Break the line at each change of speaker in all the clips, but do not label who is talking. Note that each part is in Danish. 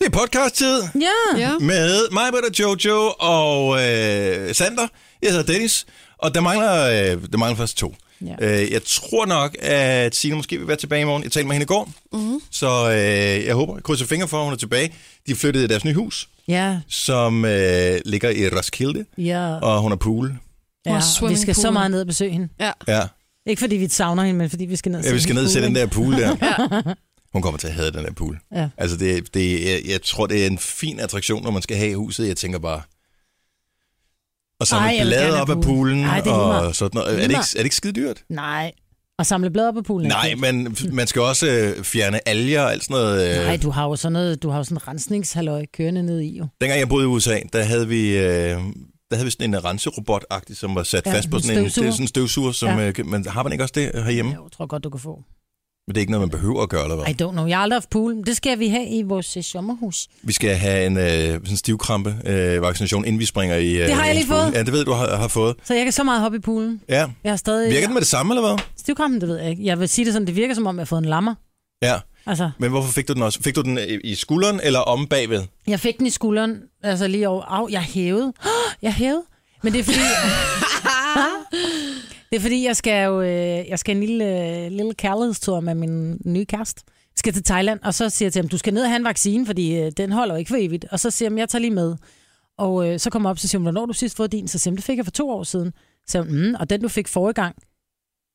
Det er podcast-tid
Ja.
Ja.
med mig, Britta, Jojo og øh, Sander. Jeg hedder Dennis, og der mangler, øh, der mangler først to.
Ja.
Øh, jeg tror nok, at Signe måske vil være tilbage i morgen. Jeg talte med hende i går,
Mm.
mm-hmm. så øh, jeg håber, jeg krydser fingre for, at hun er tilbage. De flyttede i deres nye hus,
Ja.
som øh, ligger i Roskilde,
Ja.
og hun er pool.
ja.
Og
Vi skal så
swimmingpool.
meget ned og besøge hende.
Ja.
Ja.
Ikke fordi vi savner hende, men fordi vi skal ned og
Ja, vi skal ned og se den der pool der.
Ja.
Hun kommer til at have den der pool.
Ja.
Altså, det, det, jeg, jeg tror, det er en fin attraktion, når man skal have i huset. Jeg tænker bare... Og så
Ej,
er
jeg vil
blade
gerne
op
have
af
pool.
poolen
Ej, det er lige
og
meget.
sådan noget. Er det,
Lige
ikke,
meget.
er det ikke skide dyrt?
Nej. Og samle blader på poolen.
Nej, men f- man skal også øh, fjerne alger og alt sådan noget. Øh.
Mm. Nej, du har jo sådan noget, du har jo sådan en rensningshalløj kørende ned i jo.
Dengang jeg boede i USA, der havde vi... Øh, der havde vi sådan en renserobot som var sat
Ja,
fast på
en
sådan en, det er
støvsuger.
sådan en støvsuger, som,
Ja.
ja. øh, kan- men har man ikke også det herhjemme?
Jeg tror godt, du kan få.
Men det er ikke noget, man behøver at gøre, eller hvad?
I don't know. Jeg har aldrig haft pool. men Det skal vi have i vores øh, sommerhus.
Vi skal have en øh, sådan en stivkrampe øh, vaccination, inden vi springer i... Øh,
Det har jeg lige
i skolen.
fået.
Ja, det ved du har, har fået.
Så jeg kan så meget hoppe i poolen.
Ja.
Jeg har stadig...
Virker den med det samme, eller hvad?
Stivkrampen, det ved jeg ikke. Jeg vil sige det sådan, det virker som om, jeg har fået en lammer.
Ja.
Altså,
Men hvorfor fik du den også? Fik du den i- i skulderen eller om bagved?
jeg fik den i skulderen, altså lige over. Au, jeg hævede. Jeg hævede. Men det er fordi...
Ah.
det er fordi, jeg skal jo... øh, Jeg skal en lille, øh, lille kærlighedstur med min nye kæreste. Jeg skal til Thailand, og så siger jeg til ham, du skal ned og have en vaccine, fordi øh, den holder jo ikke for evigt. Og så siger han, jeg tager lige med. Og øh, så kommer jeg op, så siger hun, hvornår har du sidst fået din? Så siger hun, det fik jeg for to år siden. Så siger hun, mm, og den du fik forrige gang,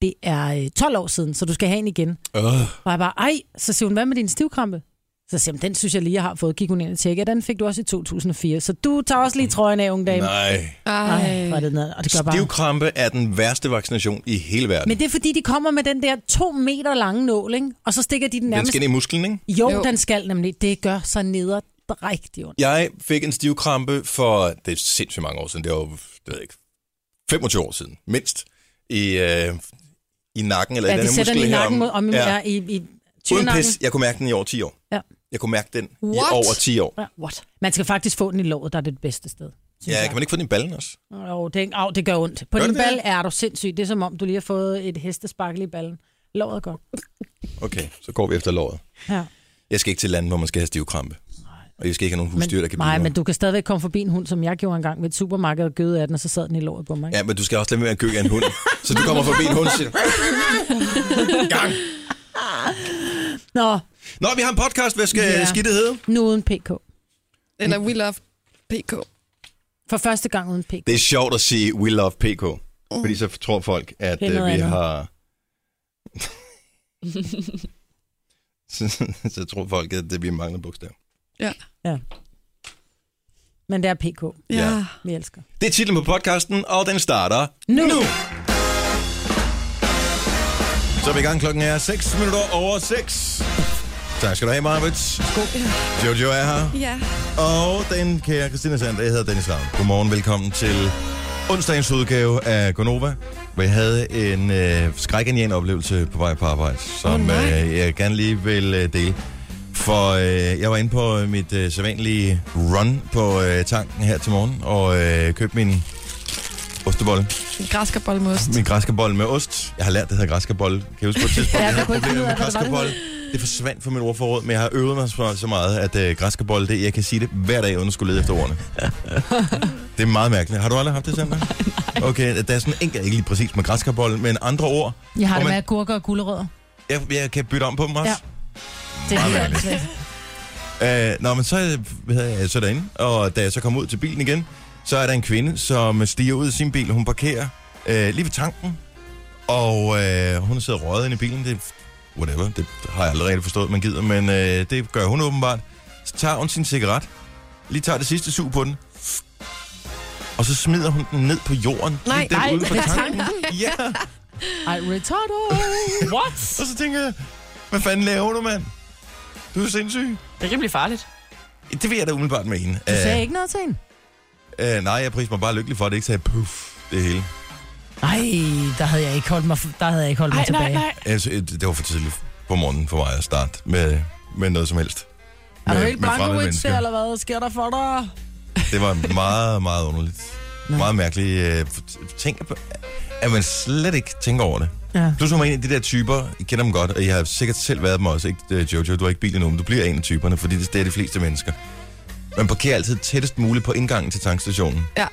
det er øh, 12 år siden, så du skal have en igen.
Øh.
Og jeg bare, ej, så siger hun, hvad med din stivkrampe? Så siger hun, den synes jeg lige, jeg har fået. Gik hun ind og tjekkede, den fik du også i 2004. Så du tager også lige trøjen af, unge dame.
Nej.
Ej, hvor er
Ej.
det ned. Og det gør bare...
Stivkrampe er den værste vaccination i hele verden.
Men det er fordi, de kommer med den der to meter lange nål, ikke? Og så stikker de den
Den
nærmest...
skal ind i musklen, ikke?
Jo,
Jo.
jo, den skal nemlig. Det gør så neder rigtig ondt.
Jeg fik en stivkrampe for, det er sindssygt mange år siden, det var, jo, det ved jeg ikke, 25 år siden, mindst, i, øh, i nakken, eller
Ja,
i
de
den her
sætter den
muskel
i nakken
herom.
mod, om, ja. i, i
Uden
tyrenakken.
pis, jeg kunne mærke den i over 10 år.
Ja.
Jeg kunne mærke den i
What?
over 10 år.
Ja. What? Man skal faktisk få den i låget, der er det bedste sted. synes
Ja,
jeg.
kan man ikke få den i ballen også?
Jo, det, au, det gør ondt. På
Gør
gør din
det det?
bal er du sindssyg. Det er som om, du lige har fået et hestesparkel i ballen. Låret går.
Okay, så går vi efter låret.
Ja.
Jeg skal ikke til lande, hvor man skal have stivkrampe. Og jeg skal ikke have nogen husdyr, der kan
nej,
bide mig.
men du kan stadigvæk komme forbi en hund, som jeg gjorde engang ved et supermarked og gøde af den, og så sad den i låret på mig. ikke?
Ja, men du skal også lade være med at gø af en hund. så du kommer forbi en hund og siger, gang.
Nå,
Nå, vi har en podcast. Hvad skal
Ja.
yeah. skidtet hedde?
nu uden PK.
Eller We Love PK.
For første gang uden PK.
Det er sjovt at sige, we love PK.
Mm.
Fordi så tror folk, at
Det er
øh,
noget
vi
andet.
har... så, så tror folk, at det, vi mangler bogstav.
Men det er PK,
Ja.
Ja.
vi elsker.
Det er titlen på podcasten, og den starter
Nu.
nu. Så er vi i gang. Klokken er 6 minutter over 6. Tak skal du have, Marvits. Jojo er her.
Ja.
Og den kære Christina Sander, jeg hedder Dennis Ravn. Godmorgen, velkommen til onsdagens udgave af Gonova, hvor jeg havde en øh, skrækindjæn oplevelse på vej på arbejde, som
Åh, nej.
øh, jeg gerne lige vil øh, dele. For øh, jeg var inde på mit øh, sædvanlige run på øh, tanken her til morgen, og øh, købte min ostebolle,
Græskerbolle med ost.
min græskebolle med ost. Jeg har lært, det hedder græskebolle. Kan jeg huske på et tidspunkt, jeg
Ja, jeg
havde
kunne ikke finde
problemer
ud
med
af, hvad det var, det
græskebolle. Det forsvandt fra min ordforråd, men jeg har øvet mig så, så meget, at øh, græskebolle, det, jeg kan sige det hver dag, uden at skulle lede efter ordene. det er meget mærkeligt. Har du aldrig haft det, Sandra? Okay, der er sådan enkelt, ikke lige præcis med græskebolle, men andre ord,
Jeg har
Og
det
man-
med agurker og gulerødder.
jeg, jeg kan bytte om på dem også.
Ja. Det er
Meget
helt
mærkeligt.
åndssvagt.
Øh, nå, men så, øh, hvad hedder jeg, så er jeg derinde, og da jeg så kom ud til bilen igen, så er der en kvinde, som stiger ud af sin bil. Hun parkerer øh, lige ved tanken, og øh, hun sidder røget inde i bilen. Det, whatever, det har jeg allerede forstået, man gider, men øh, det gør hun åbenbart. Så tager hun sin cigaret, lige tager det sidste sug på den, og så smider hun den ned på jorden.
Nej,
lige der
nej,
ude for
ved
tanken. Ja,
Ej, retardo. What?
og så tænker jeg, hvad fanden laver du, mand? Du er sindssyg.
Det kan blive farligt.
Det vil jeg da umiddelbart mene.
Du
Øh,
sagde ikke noget til hende?
Øh, nej, jeg priser mig bare lykkelig for, at det ikke sagde puff, det hele.
Nej, der havde jeg ikke holdt mig, der havde jeg ikke holdt mig tilbage.
Altså, øh, det var for tidligt på morgenen for mig at starte med, med noget som helst.
Er du
Med-
helt
med fremmede
banko
mennesker.
eller hvad sker der for dig?
Det var meget, meget underligt. Nå. Meget mærkeligt. Øh, f- tænk, på- at man slet ikke tænker over det.
Ja.
Du som er en af de der typer, I kender dem godt, og jeg har sikkert selv været dem også, ikke øh, Jojo, du har ikke bil endnu, men du bliver en af typerne, fordi det, det er de fleste mennesker. Man parkerer altid tættest muligt på indgangen til tankstationen.
Ja.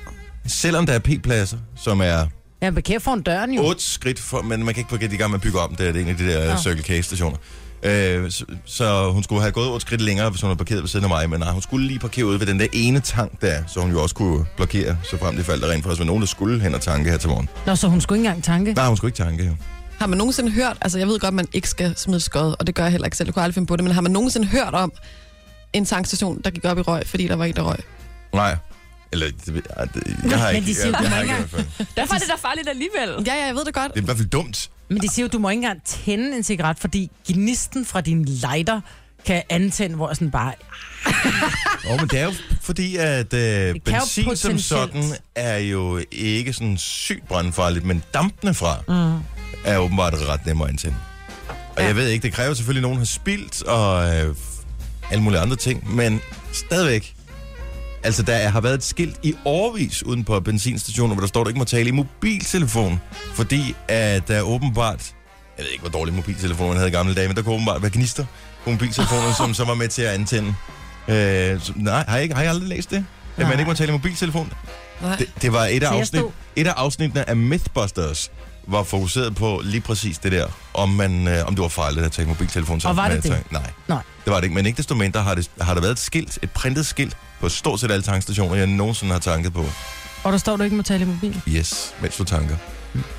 Selvom der er p-pladser, som er
Ja, parkerer foran døren jo.
8 skridt, for, men man kan ikke parkere de gang, man bygger om. Det er en af de der
Nå.
oh. Circle K-stationer. Øh, så, så hun skulle have gået 8 skridt længere, hvis hun havde parkeret ved siden af mig, men nej, hun skulle lige parkere ude ved den der ene tank der, så hun jo også kunne blokere, så frem det faldt der rent for os, men nogen, der skulle hen og tanke her til morgen.
Nå, så hun skulle ikke engang tanke.
Nej, hun skulle ikke tanke. jo.
Har man nogensinde hørt, altså jeg ved godt, man ikke skal smide skod, og det gør jeg heller ikke selv, jeg kunne aldrig finde på det, men har man nogensinde hørt om en tankstation, der gik op i røg, fordi der var en, der røg?
Nej. Eller, det ved jeg det- jeg har
Men
ikke.
de siger jo,
jeg,
du
jeg
må
har
ikke
ikke i hvert fald.
Derfor er det da farligt alligevel.
Ja, ja, jeg ved det godt.
Det er i hvert fald dumt.
Men de siger jo, du må ikke engang tænde en cigaret, fordi gnisten fra din lighter kan antænde, hvor jeg sådan bare...
Og men det er jo fordi, at øh,
jo
benzin som
potentielt.
sådan er jo ikke sådan sygt brandfarligt, men dampene fra
Mm.
er åbenbart ret nemmere at antænde. Og
Ja.
jeg ved ikke, det kræver selvfølgelig, at nogen har spildt og øh, alle mulige andre ting, men stadigvæk. Altså, der er- har været et skilt i årvis uden på benzinstationer, hvor der står, at du ikke må tale i mobiltelefon, fordi at der åbenbart, jeg ved ikke, hvor dårlig mobiltelefon man havde i gamle dage, men der kunne åbenbart være gnister på mobiltelefoner, som så var med til at antænde. Øh, så, nej, har jeg, ikke, har jeg aldrig læst det? At man
Nej.
ikke må tale i mobiltelefon?
Nej.
Det, det var et af
Så jeg
afsnit,
stod-
et af afsnittene af Mythbusters var fokuseret på lige præcis det der, om, man, øh, om det var farligt at tage mobiltelefon
Og
sammen
var
med
det
en
det?
tank. Nej,
Nej.
det var det ikke. Men ikke desto mindre har, det, har der været et skilt, et printet skilt, på stort set alle tankstationer, jeg nogensinde har tanket på.
Og der står, du ikke må tale i mobil.
Yes, mens du tanker.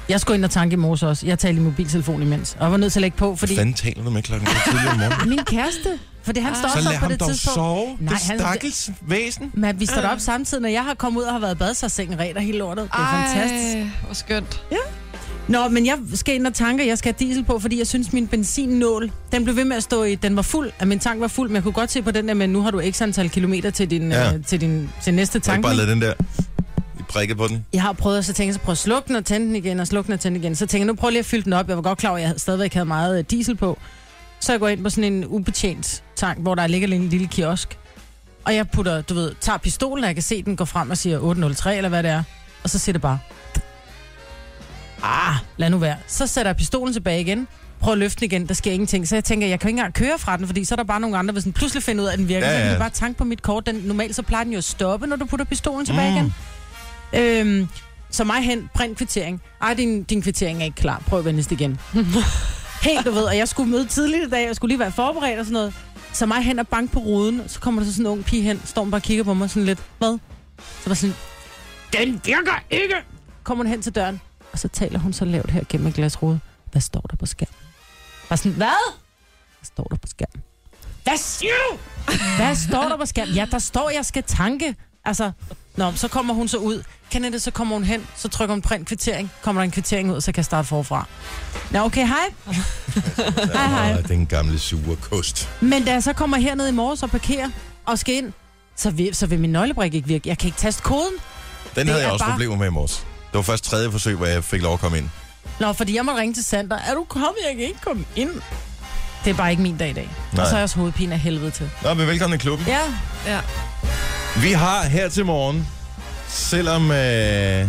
Jeg skulle ind og tanke i morges også. Jeg talte i mobiltelefon imens, og var nødt til at lægge på,
Fordi...
fordi...
Hvad fanden taler du med klokken otte tidligere om morgenen?
Min kæreste, for det han
Ah.
står
Så
så
lad
på
ham
det
dog
tidspunkt.
sove,
Nej,
det
han-
stakkels væsen.
Men vi står op samtidig, når jeg har kommet ud og har været i bad, så er sengen ret og hele lortet. Det er fantastisk.
Ej, hvor skønt.
Nå, men jeg skal ind og tanke, jeg skal have diesel på, fordi jeg synes, min benzinnål, den blev ved med at stå i, den var fuld, at min tank var fuld, men jeg kunne godt se på den der, men nu har du x antal kilometer til din,
Ja.
ja. øh, til din til næste
Så ikke
tank.
bare lade den der i prikket på den.
Jeg har prøvet, og så tænkte jeg, så prøv at slukke den og tænde den igen, og slukke den og tænde den igen. Så tænkte jeg, nu prøv lige at fylde den op. Jeg var godt klar over, at jeg havde- stadigvæk havde meget øh, diesel på. Så jeg går ind på sådan en ubetjent tank, hvor der ligger en lille kiosk. Og jeg putter, du ved, tager pistolen, og jeg kan se, den går frem og siger 803, eller hvad det er. Og så siger det bare... Ah, lad nu være. Så sætter jeg pistolen tilbage igen. Prøv at løfte den igen, der sker ingenting. Så jeg tænker, jeg kan jo ikke engang køre fra den, fordi så er der bare nogle andre, hvis den pludselig finder ud af, at den virker.
Ja,
Ja, ja. Så
ja.
kan de bare tanke på mit kort. Den, normalt så plejer den jo at stoppe, når du putter pistolen tilbage
Mm.
mm. igen. Øhm, så mig hen, print kvittering. Ej, din, din kvittering er ikke klar. Prøv at vende det igen. Helt, du ved, og jeg skulle møde tidligt i dag, jeg skulle lige være forberedt og sådan noget. Så mig hen og bank på ruden, så kommer der så sådan en ung pige hen, står hun bare og kigger på mig sådan lidt, hvad? Så var sådan, den virker ikke! Kommer hun hen til døren, og så taler hun så lavt her gennem et glas rude. Hvad står der på skærmen? Bare sådan, hvad? Hvad står der på skærmen? Hvad siger du? Hvad står der på skærmen? Ja, der står, jeg skal tanke. Altså, Nå, så kommer hun så ud. Kenneth, så kommer hun hen, så trykker hun print kvittering. Kommer der en kvittering ud, så kan jeg starte forfra. Nå, okay, hej. hej, hej.
Ah, den gamle sure kost.
Men da jeg så kommer herned i morges og parkerer og skal ind, så vil, så vil min nøglebrik ikke virke. Jeg kan ikke taste koden.
Den
Det
havde jeg
er
også
bare-
problemer med i morges. Det var først tredje forsøg, hvor jeg fik lov at komme ind.
Nå, fordi jeg må ringe til Sander. Er du kommet? Jeg kan ikke komme ind. Det er bare ikke min dag i dag. Nej.
Nej.
Og så er jeg også hovedpine af helvede til.
Nå, men velkommen i klubben.
Ja,
Ja.
Vi har her til morgen, selvom øh,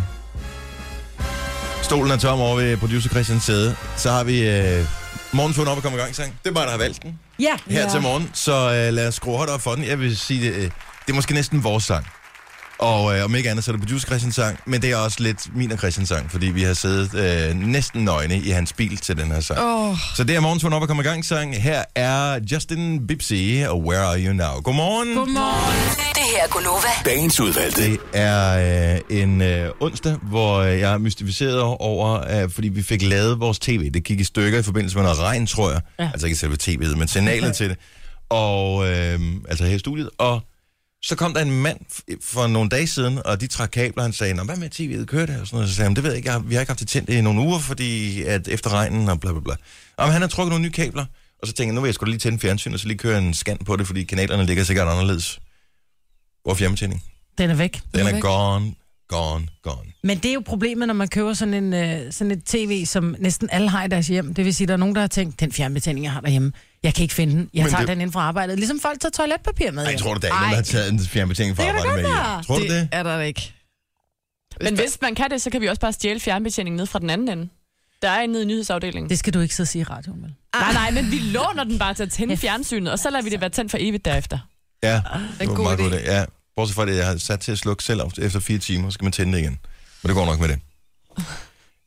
stolen er tom over ved producer Christian Sæde, så har vi øh, morgens vund op og komme i gang sang. Det er bare, der har valgt den
ja.
her
Ja.
til morgen, så øh, lad os skrue hårdt op for den. Jeg vil sige, det, øh, det er måske næsten vores sang. Og øh, om ikke andet, så er det producer Christians sang, men det er også lidt min og Christians sang, fordi vi har siddet øh, næsten nøgne i hans bil til den her sang.
Åh, oh,
Så det er morgens vund op og komme i gang sang. Her er Justin Bieber og Where Are You Now. Godmorgen.
Godmorgen.
Det her er Gunova.
Dagens udvalgte.
Det er øh, en øh, onsdag, hvor øh, jeg er mystificeret over, øh, fordi vi fik lavet vores tv. Det gik i stykker i forbindelse med noget regn, tror jeg. Ja.
Ja.
Altså ikke selve tv'et, men signalet til det. Og øh, altså her i studiet. Og så kom der en mand f- for nogle dage siden, og de trak kabler, han sagde, Nå, hvad med tv'et, kører det? Og sådan noget. Så sagde han, det ved jeg ikke, jeg har, vi har ikke haft det tændt i nogle uger, fordi at efter regnen og bla bla bla. Og men han har trukket nogle nye kabler, og så tænkte jeg, nu vil jeg sgu da lige tænde fjernsynet, og så lige køre en scan på det, fordi kanalerne ligger sikkert anderledes. Hvor er fjernbetjeningen?
Den er væk.
Den er
væk.
gone, gone, gone.
Men det er jo problemet, når man køber sådan, en, øh, sådan et tv, som næsten alle har i deres hjem. Det vil sige, at der er nogen, der har tænkt, den fjernbetjening, jeg har derhjemme, jeg kan ikke finde den. Jeg
Men
tager
det-
det... den ind fra arbejdet. Ligesom folk tager toiletpapir med.
Ej, jeg
hjem.
tror du, der er ikke nogen, der har taget en fjernbetjening fra
Det kan da
arbejde med
godt
hjem.
være.
Tror du det?
er der ikke.
Men hvis man kan det, så kan vi også bare stjæle fjernbetjeningen ned fra den anden ende. Der er en nede i nyhedsafdelingen. Det...
Det skal du ikke så sige i radioen, vel?
Nej, nej, men vi låner den bare til at tænde fjernsynet, og så lader vi det være tændt for evigt derefter.
Ja,
er en
det var
god
meget god
idé.
idé. Ja. Bortset fra det, jeg har sat til at slukke selv efter fire timer, så skal man tænde det igen. Men det går nok med det.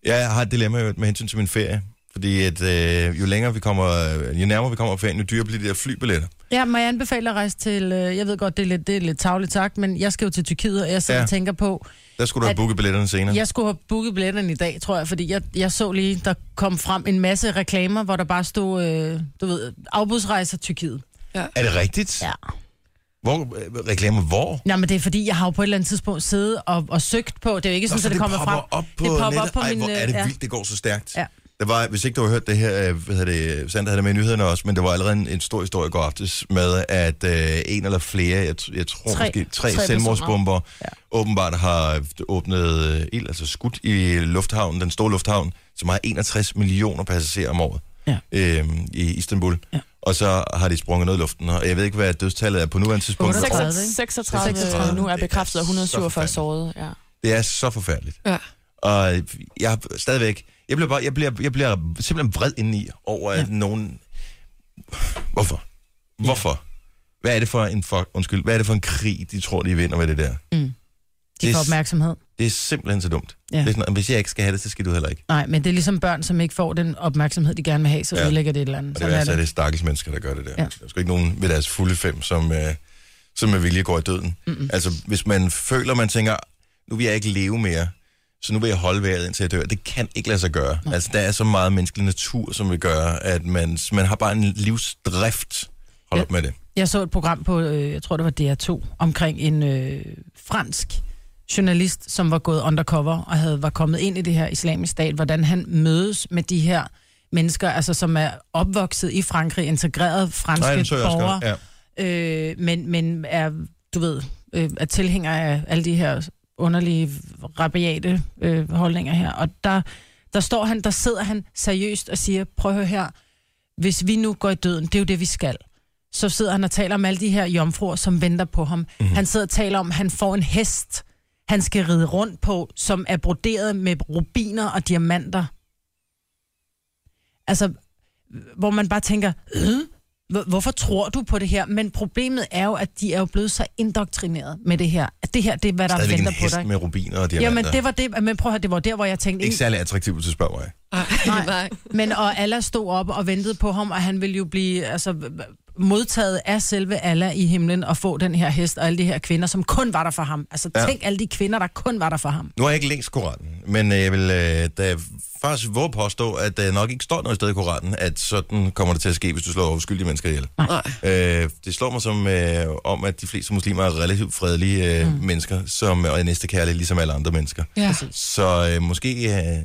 Jeg har et dilemma i øvrigt med hensyn til min ferie. Fordi at, øh, jo længere vi kommer, øh, jo nærmere vi kommer på ferien, jo dyrere bliver de der flybilletter.
Ja, må jeg anbefale at rejse til, øh, jeg ved godt, det er lidt, det er lidt tavligt sagt, men jeg skal jo til Tyrkiet, og jeg sidder
Ja.
ja. og tænker på,
Der skulle du have
At-
booket billetterne senere.
jeg skulle have booket billetterne i dag, tror jeg, fordi jeg, jeg så lige, der kom frem en masse reklamer, hvor der bare stod, øh, du ved, afbudsrejser Tyrkiet.
Er det rigtigt?
Ja.
Hvor, øh, reklamer hvor?
Nej, men det er fordi, jeg har jo på et eller andet tidspunkt siddet og, og søgt på, det er jo ikke sådan, at det, kommer
popper
frem.
Op på
Det popper op
nettet.
på
Ej,
min,
hvor er det
øh,
vildt, det går så stærkt.
Ja.
Der var, hvis ikke du har hørt det her, øh, hvad hedder det, Sandra havde det med i nyhederne også, men det var allerede en, en stor historie i går aftes med, at øh, en eller flere, jeg, t- jeg tror tre,
Tre-
måske tre, tre
tre
selvmordsbomber, ja. åbenbart har åbnet øh, ild, altså skudt i lufthavnen, den store lufthavn, som har 61 millioner passagerer om året
Ja.
øh, i Istanbul.
Ja.
Og så har de sprunget ned i luften, og jeg ved ikke, hvad dødstallet er på nuværende tidspunkt.
38.
36,
36.
nu er
Det er
bekræftet, og
så
147
forfærdeligt.
såret. Ja.
Det er så forfærdeligt.
Ja.
Og jeg er stadigvæk... Jeg bliver, bare, jeg bliver, jeg bliver simpelthen vred indeni over, at ja. nogen... Hvorfor? Hvorfor? Hvad er det for en fuck, undskyld, hvad er det for en krig, de tror, de vinder med det der?
De
Det
får
er-
opmærksomhed.
Det er simpelthen så dumt. Ja.
Ja.
Det er sådan, hvis jeg ikke skal have det, så skal du heller ikke.
Nej, men det er ligesom børn, som ikke får den opmærksomhed, de gerne vil have, så
Ja.
ja. ødelægger det et eller andet.
Og det
Sådan
værste er, at det er stakkels mennesker, der gør det der. Ja.
Ja.
Der er sgu ikke nogen ved deres fulde fem, som, øh, som med vilje går i døden. Mm-mm. Altså, hvis man føler, man tænker, nu vil jeg ikke leve mere, så nu vil jeg holde vejret indtil jeg dør. Det kan ikke lade sig gøre. Mm. Altså, der er så meget menneskelig natur, som vil gøre, at man, man har bare en livsdrift. Hold
Ja.
op med det.
Jeg så et program på, øh, jeg tror det var DR2, omkring en øh, fransk journalist, som var gået undercover og havde var kommet ind i det her islamisk stat, hvordan han mødes med de her mennesker, altså som er opvokset i Frankrig, integreret franske
Nej,
Nej,
den så jeg også
borgere,
godt. Ja.
øh, men, men er, du ved, øh, er tilhænger af alle de her underlige, rabiate øh, holdninger her. Og der, der står han, der sidder han seriøst og siger, prøv at høre her, hvis vi nu går i døden, det er jo det, vi skal. Så sidder han og taler om alle de her jomfruer, som venter på ham.
Mhm.
Mm-hmm. Han sidder og taler om, at han får en hest, han skal ride rundt på, som er broderet med rubiner og diamanter. Altså, hvor man bare tænker, øh, hvor- hvorfor tror du på det her? Men problemet er jo, at de er jo blevet så indoktrineret med det her. At det her, det er, hvad der
Stadigvæk en
venter på
hest
dig.
med rubiner og diamanter.
Jamen, det var det, men prøv at høre, det var der, hvor jeg tænkte,
Ikke særlig attraktivt, hvis du spørger mig.
Nej, nej.
men og Allah stod op og ventede på ham, og han ville jo blive altså, modtaget af selve Allah i himlen og få den her hest og alle de her kvinder, som kun var der for ham. Altså
Ja.
ja. tænk alle de kvinder, der kun var der for ham.
Nu har jeg ikke læst Koranen, men øh, jeg vil øh, da faktisk våge påstå, at der nok ikke står noget sted i Koranen, at sådan kommer det til at ske, hvis du slår uskyldige mennesker ihjel.
nej.
Øh, det slår mig som øh, om, at de fleste muslimer er relativt fredelige øh, mm. mennesker, som er næstekærlige, ligesom alle andre mennesker.
Ja.
Så øh, måske øh,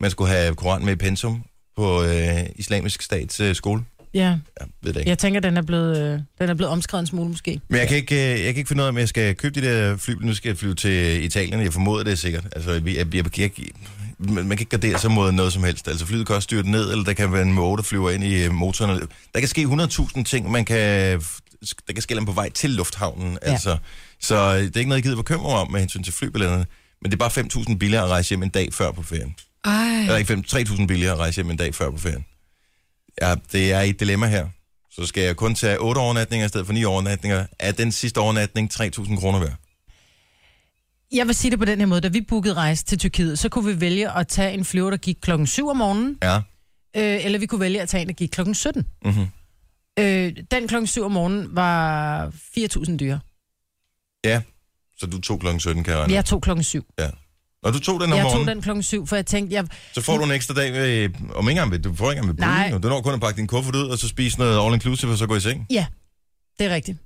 man skulle have Koranen med i pensum på øh, islamisk stats øh, skole.
Ja,
Jeg ved det ikke.
jeg tænker, den er blevet, øh, den er blevet omskrevet en smule måske.
Men jeg kan, ikke, øh, jeg kan ikke finde ud af, om jeg skal købe de der fly. Nu skal jeg flyve til Italien. Jeg formoder det er sikkert. Altså, jeg, jeg, jeg, jeg, man man kan ikke gardere sig mod noget som helst. Altså, flyet kan også styrte ned, eller der kan være en måge, der flyver ind i øh, motoren. eller- Der kan ske 100.000 ting. Man kan, der kan ske noget på vej til lufthavnen. Ja.
Ja.
Altså. Så øh, det er ikke noget, jeg gider bekymre mig om med hensyn til flybilletterne. Men det er bare 5.000 billigere at rejse hjem en dag før på ferien. Eller
Ej.
ikke 5, 3.000 billigere at rejse hjem en dag før på ferien. Ja, det er et dilemma her. Så skal jeg kun tage 8 overnatninger i stedet for 9 overnatninger. Er den sidste overnatning 3.000 kroner værd?
Jeg vil sige det på den her måde, da vi bookede rejse til Tyrkiet, så kunne vi vælge at tage en flyver, der gik klokken 7 om morgenen,
Ja.
øh, eller vi kunne vælge at tage en, der gik klokken 17.
Mm-hmm.
Øh, den klokken 7 om morgenen var 4.000 dyre.
Så du tog klokken 17, kan jeg regne.
Jeg tog klokken 7.
Når du tog den om
Jeg
morgenen,
tog den klokken 7, for jeg tænkte, jeg,
så får du en ekstra dag ved, om ikke engang ved, du får ikke engang ved
Nej.
bryden. jo. Du når kun at pakke din kuffert ud, og så spise noget all inclusive, og så gå i seng.
det er rigtigt.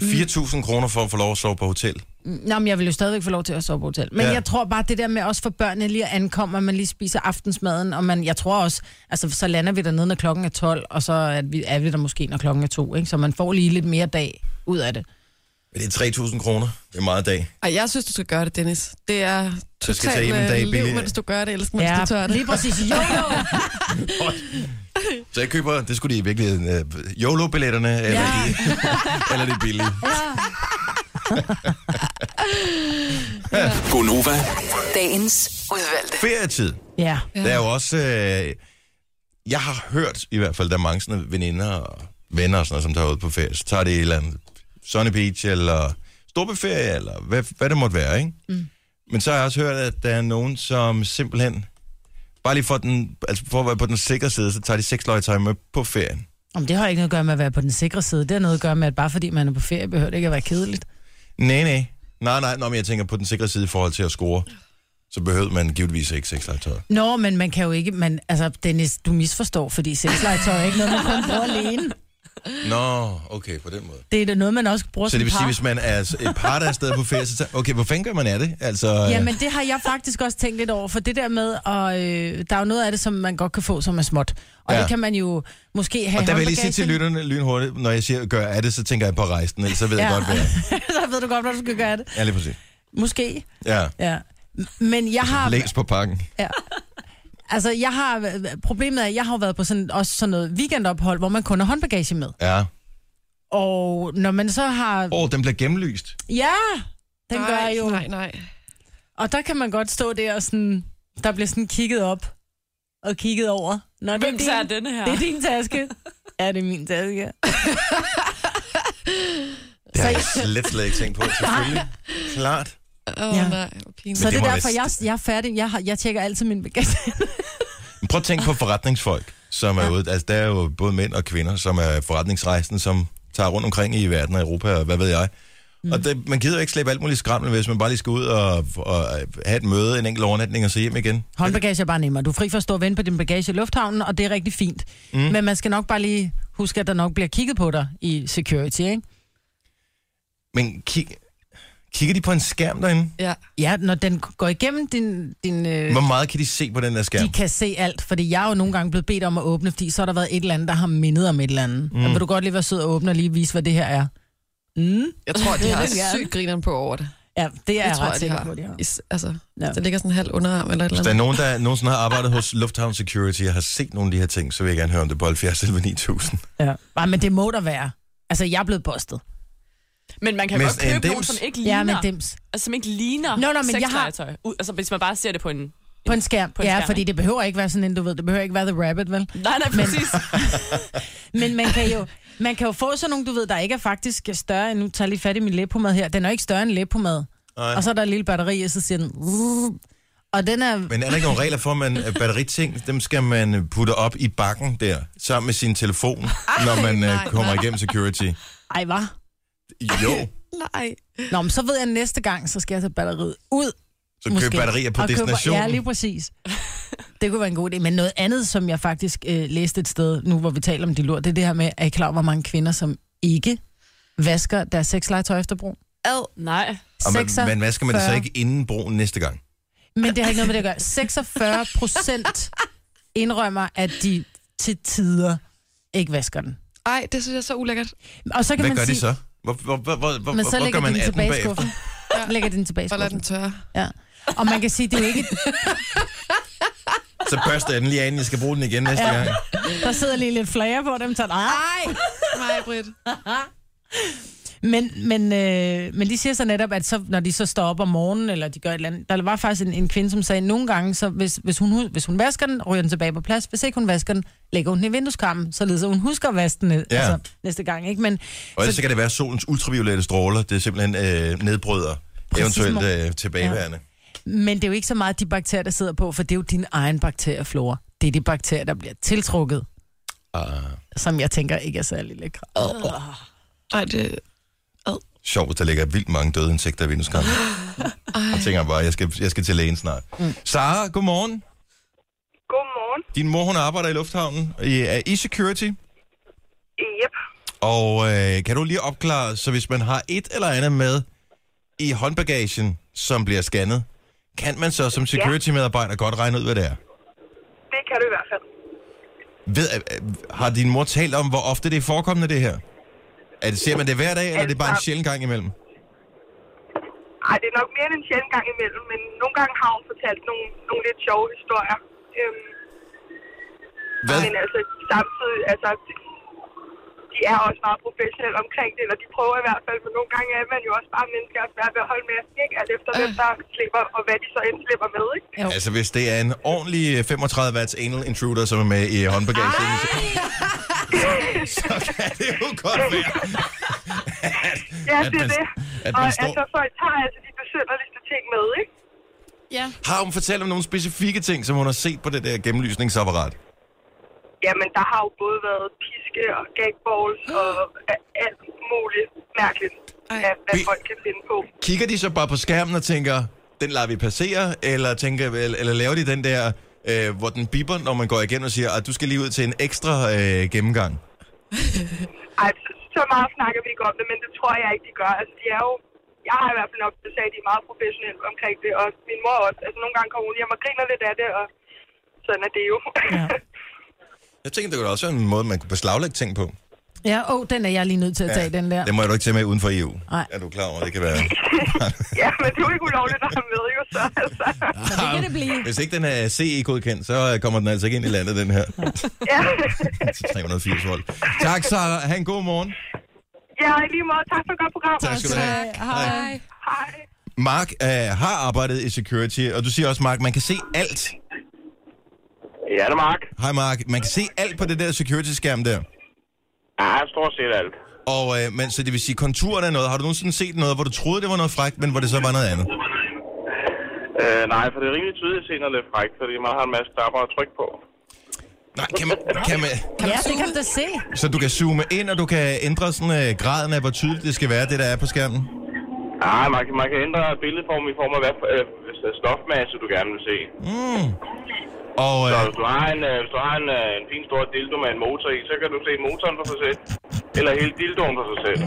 Mm.
4.000 kroner for at få lov at sove på hotel.
Nå, men jeg vil jo stadigvæk få lov til at sove på hotel. Men
Ja.
ja. jeg tror bare, det der med også for børnene lige at ankomme, og man lige spiser aftensmaden, og man, jeg tror også, altså så lander vi dernede, når klokken er 12, og så er vi, er vi der måske, når klokken er 2, ikke? Så man får lige lidt mere dag ud af det.
Men det er 3.000 kroner. Det er meget dag.
Ej, jeg synes, du skal gøre det, Dennis. Det er
Du skal tage
totalt
hjem en dag
øh,
billigere.
liv, mens du gør det, ellers mens du tør det.
lige præcis. Jo, jo.
Så jeg køber, det skulle de i virkeligheden, øh, YOLO-billetterne, eller,
Ja.
de, eller de billige.
Gonova,
Dagens udvalgte.
Ferietid.
Ja.
Ja. Der er jo også... Øh, jeg har hørt, i hvert fald, der er mange sådan, veninder og venner og sådan noget, som tager ud på ferie. Så tager de et eller andet Sunny Beach, eller Storbeferie, eller hvad, hvad det måtte være, ikke? Mm. Men så har jeg også hørt, at der er nogen, som simpelthen... Bare lige for, den, altså for at være på den sikre side, så tager de seks løgetøj med på ferien.
Om det har ikke noget at gøre med at være på den sikre side. Det har noget at gøre med, at bare fordi man er på ferie, behøver det ikke at være kedeligt.
Nej, nej. Nej, nej, Nå, men jeg tænker på den sikre side i forhold til at score. Så behøvede man givetvis ikke seks legetøj.
Nå, men man kan jo ikke... Man, altså, Dennis, du misforstår, fordi sexlegetøj er ikke noget, man kun bruger alene.
Nå, okay, på den måde.
Det er da noget, man også bruger
Så
som
det vil sige,
par.
hvis man er s- et par, der er afsted på ferie, så tager, okay, hvor fanden gør man af det? Altså,
Ja, men det har jeg faktisk også tænkt lidt over, for det der med, og øh, der er jo noget af det, som man godt kan få, som er småt. Og
Ja.
ja. det kan man jo måske have
og der vil jeg lige
håndbagagen.
sige til lytterne lynhurtigt, når jeg siger gør af det, så tænker jeg på rejsen, ellers så ved ja. jeg
Ja.
godt, hvad jeg
Så ved du godt, hvor du skal gøre af det.
Ja, lige præcis.
Måske.
Ja,
Ja. M- Men jeg har...
læs på pakken.
Altså, jeg har, problemet er, at jeg har jo været på sådan, også sådan noget weekendophold, hvor man kun har håndbagage med.
Ja.
Og når man så har...
Åh, oh, den bliver gennemlyst.
Ja, den gør
nej,
jeg jo.
Nej, nej.
Og der kan man godt stå der og sådan... Der bliver sådan kigget op og kigget over. Nå, det er
Hvem
din-
tager denne her?
Det er din taske. ja, det er min taske.
Det har jeg slet, slet ikke tænkt på, selvfølgelig. Klart.
Åh, oh,
Ja.
ja. nej. Hvor pinligt.
Så
det
det,
må
er derfor,
være-
jeg, jeg er færdig. Jeg, har, jeg tjekker altid min bagage.
Men Prøv at tænke på forretningsfolk, som er ude. Altså, der er jo både mænd og kvinder, som er forretningsrejsende, som tager rundt omkring i verden og Europa, og hvad ved jeg. Mm. Og det, man gider jo ikke slæbe alt muligt skrammel, hvis man bare lige skal ud og, og have et møde, en enkelt overnatning og så hjem igen.
Håndbagage er bare nemmere. Du er fri for at stå og vente på din bagage i lufthavnen, og det er rigtig fint. Mm. Men man skal nok bare lige huske, at der nok bliver kigget på dig i security, ikke?
Men kig, kigger de på en skærm derinde?
Øh.
Ja.
Ja, når den går igennem din... din øh,
Hvor meget kan de se på den der skærm?
de kan se alt, fordi jeg er jo nogle gange blevet bedt om at åbne, fordi så har der været et eller andet, der har mindet om et eller andet. Mm. Vil du godt lige være sød og åbne og lige vise, hvad det her er? Mm.
Jeg tror, de har
vil jeg gerne.
sygt grineren på over det.
Ja, det er
Det
jeg,
tror
ret
jeg, de
sikker
har.
på, de har.
Is, altså,
Ja.
der ligger sådan en halv underarm eller et eller
Hvis der er
andet.
nogen, der nogensinde har arbejdet hos Lufthavn Security og har set nogle af de her ting, så vil jeg gerne høre om det på 70 11 9000.
Ja. Ej, men det må der være. Altså, jeg er blevet bustet.
Men man kan
Men
godt
en
købe nogen,
dims-
som ikke
Ja,
ligner,
men dims.
altså, som ikke ligner
Nå, nå, men jeg har-
sexlegetøj. Ud- Altså, hvis man bare ser det på en...
På en skærm.
På en
ja,
skærm,
fordi
ikke?
det behøver ikke være sådan en, du ved. Det behøver ikke være The Rabbit, vel?
Nej, nej, præcis.
Men man kan jo, man kan jo få sådan nogle, du ved, der ikke er faktisk større end... Nu tager jeg lige fat i min læbpomade her. Den er jo ikke større end læbpomade. Og så er der et lille batteri, og så siger den... Og den er...
Men er der ikke nogen regler for, at man, at batteriting, dem skal man øh, putte op i bakken der, sammen med sin telefon, Ej, når man nej,
nej,
kommer
nej.
igennem security?
Ej, hvad?
Jo,
Nej.
Nå, men så ved jeg, at næste gang, så skal jeg tage batteriet ud.
så køb batterier på
og køber-
destinationen.
Ja, lige præcis. Det kunne være en god idé. Men noget andet, som jeg faktisk øh, læste et sted, nu hvor vi taler om de lur, det er det her med, at I klar over, hvor mange kvinder, som ikke vasker deres sexlegetøj efter brug?
Ad. Nej.
og man, man vasker man det så
46.
ikke inden broen næste gang?
Men det har ikke noget med det at gøre. 46 procent indrømmer, at de til tider ikke vasker den.
Ej, det synes jeg er så ulækkert.
Og så kan
Hvad
man
gør
sige,
de så? Hvor, hvor, hvor, hvor, hvor,
Men så
hvor gør
lægger de
man
den
af den
tilbage i
bagefter?
skuffen. Ja. Lægger de den tilbage i
Og lad den
skuffen.
tørre.
Ja. Og man kan sige, det er jo ikke...
Så børster jeg den lige af, inden jeg skal bruge den igen næste gang.
Der sidder lige lidt flager på dem, så nej.
Nej, Britt.
Men, men, øh, men de siger så netop, at så, når de så står op om morgenen, eller de gør et eller andet, der var faktisk en, en kvinde, som sagde, at nogle gange, så hvis, hvis, hun, hvis hun vasker den, ryger den tilbage på plads. Hvis ikke hun vasker den, lægger hun den i vindueskarmen, således at hun husker at vaske den ned,
Ja.
ja. altså, næste gang. Ikke? Men,
Og ellers
så,
så kan det være, at solens ultraviolette stråler, det simpelthen øh, nedbryder
Præcis,
eventuelt øh, tilbageværende.
men det er jo ikke så meget de bakterier, der sidder på, for det er jo din egen bakterieflora. Det er de bakterier, der bliver tiltrukket,
Ja.
som jeg tænker ikke er særlig lækre.
Ej, det...
Sjovt, der ligger vildt mange døde insekter i vindueskarmen. Jeg tænker bare, jeg skal, jeg skal til lægen snart. Mm. Sara, godmorgen.
Godmorgen.
Din mor, hun arbejder i lufthavnen i, er i security.
Yep.
Og øh, kan du lige opklare, så hvis man har et eller andet med i håndbagagen, som bliver scannet, kan man så som security-medarbejder godt regne ud, hvad det er?
Det kan du i hvert fald.
Ved, øh, øh, har din mor talt om, hvor ofte det er forekommende, det her? Er det, ser man det hver dag, eller er det bare en
Altså-
sjældent gang imellem?
Ej, det er nok mere end en sjældent gang imellem, men nogle gange har hun fortalt nogle, nogle lidt sjove historier. Øhm,
Hvad?
men altså, samtidig, altså, de de er også meget professionelle omkring det, eller de prøver i hvert fald, men nogle gange er man jo også bare mennesker og svært ved at holde med at stikke alt efter,
Øh.
hvem der slipper, og hvad de så end slipper med, ikke?
Jo. Altså, hvis det er en ordentlig 35 watts anal intruder, som er med i håndbagagen, så- så kan det jo godt være,
Ja,
At
det er
man-
det.
at
Og
man står...
altså, folk tager altså de besynderligste ting med, ikke?
Ja.
Har hun fortalt om nogle specifikke ting, som hun har set på det der gennemlysningsapparat?
Jamen, der har jo både været piske og gagballs og a- alt muligt mærkeligt, af, hvad
Vi-
folk kan finde på.
Kigger de så bare på skærmen og tænker, den lader vi passere, eller, tænker, eller, eller laver de den der, øh, hvor den biber, når man går igen og siger, at du skal lige ud til en ekstra øh, gennemgang?
Altså, så meget snakker vi ikke om det, men det tror jeg ikke, de gør. Altså, de er jo... Jeg har i hvert fald nok sagt, at de er meget professionelle omkring det, og min mor også. Altså, nogle gange kommer hun hjem og griner lidt af det, og sådan er det jo. Ja.
Jeg tænker, det kunne da også være en måde, man kunne beslaglægge ting på.
Ja, åh, oh, den er jeg lige nødt til at tage, den der.
Det må jeg jo ikke tage med uden for EU.
Nej.
Er du klar over, det kan være...
ja, men det er jo ikke ulovligt at have med, jo, så altså.
Ah.
det kan det blive.
Hvis ikke den er CE-godkendt, så øh, kommer den altså ikke ind i landet, den her. Altså
Ja,
Til 380 volt. Tak, Sara. Ha' en god morgen.
ja i lige måde. Tak for et godt program.
Tak skal du have. Hej.
Hej.
Mark øh, har arbejdet i security, og du siger også, Mark, man kan se alt.
Ja, det er Mark.
Hej, Mark. Man kan se alt på det der security-skærm der.
Ja, stort set alt.
Og øh, men, så det vil sige, konturen er noget. Har du nogensinde set noget, hvor du troede, det var noget frækt, men hvor det så var noget andet?
Øh, nej, for det er rimelig tydeligt senere lidt frækt, fordi man har en masse knapper at trykke på.
Nej, kan man, kan man,
Ja, det kan du da se.
så du kan zoome ind, og du kan ændre sådan, øh, graden af, hvor tydeligt det skal være, det der er på skærmen?
Nej, man, kan- man kan ændre billedform i form af hvad, for- øh, hvis der er stofmasse, du gerne vil se.
Og,
Så
øh,
hvis du har en, øh, hvis du har en, øh, en fin stor dildo med en motor i, så kan du se motoren for sig selv. Eller hele dildoen for sig selv.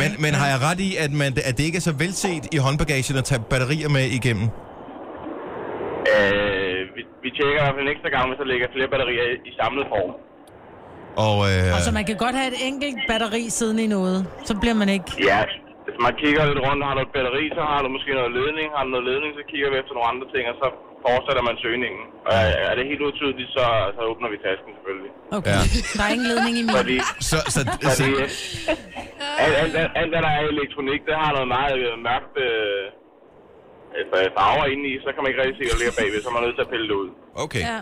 men, men har jeg ret i, at, man, at det ikke er så velset i håndbagagen at tage batterier med igennem?
Øh, vi, vi tjekker i hvert fald en ekstra gang, hvis der ligger flere batterier i, i samlet form.
Og, øh,
Altså, man kan godt have et enkelt batteri siden i noget. Så bliver man ikke...
Ja, hvis man kigger lidt rundt, har du et batteri, så har du måske noget ledning. Har du noget ledning, så kigger vi efter nogle andre ting, og så fortsætter man søgningen. Og er- er det helt utydeligt, så, så åbner vi tasken selvfølgelig.
Okay.
Ja.
Ja. Der er ingen ledning i min.
Fordi,
så, så, så,
fordi alt, alt, alt, alt, hvad der er i elektronik, det har noget meget øh, mørkt øh, øh, farver inde i, så kan man ikke rigtig se, hvad der ligger bagved, så er man nødt til at pille det ud.
okay.
Ja.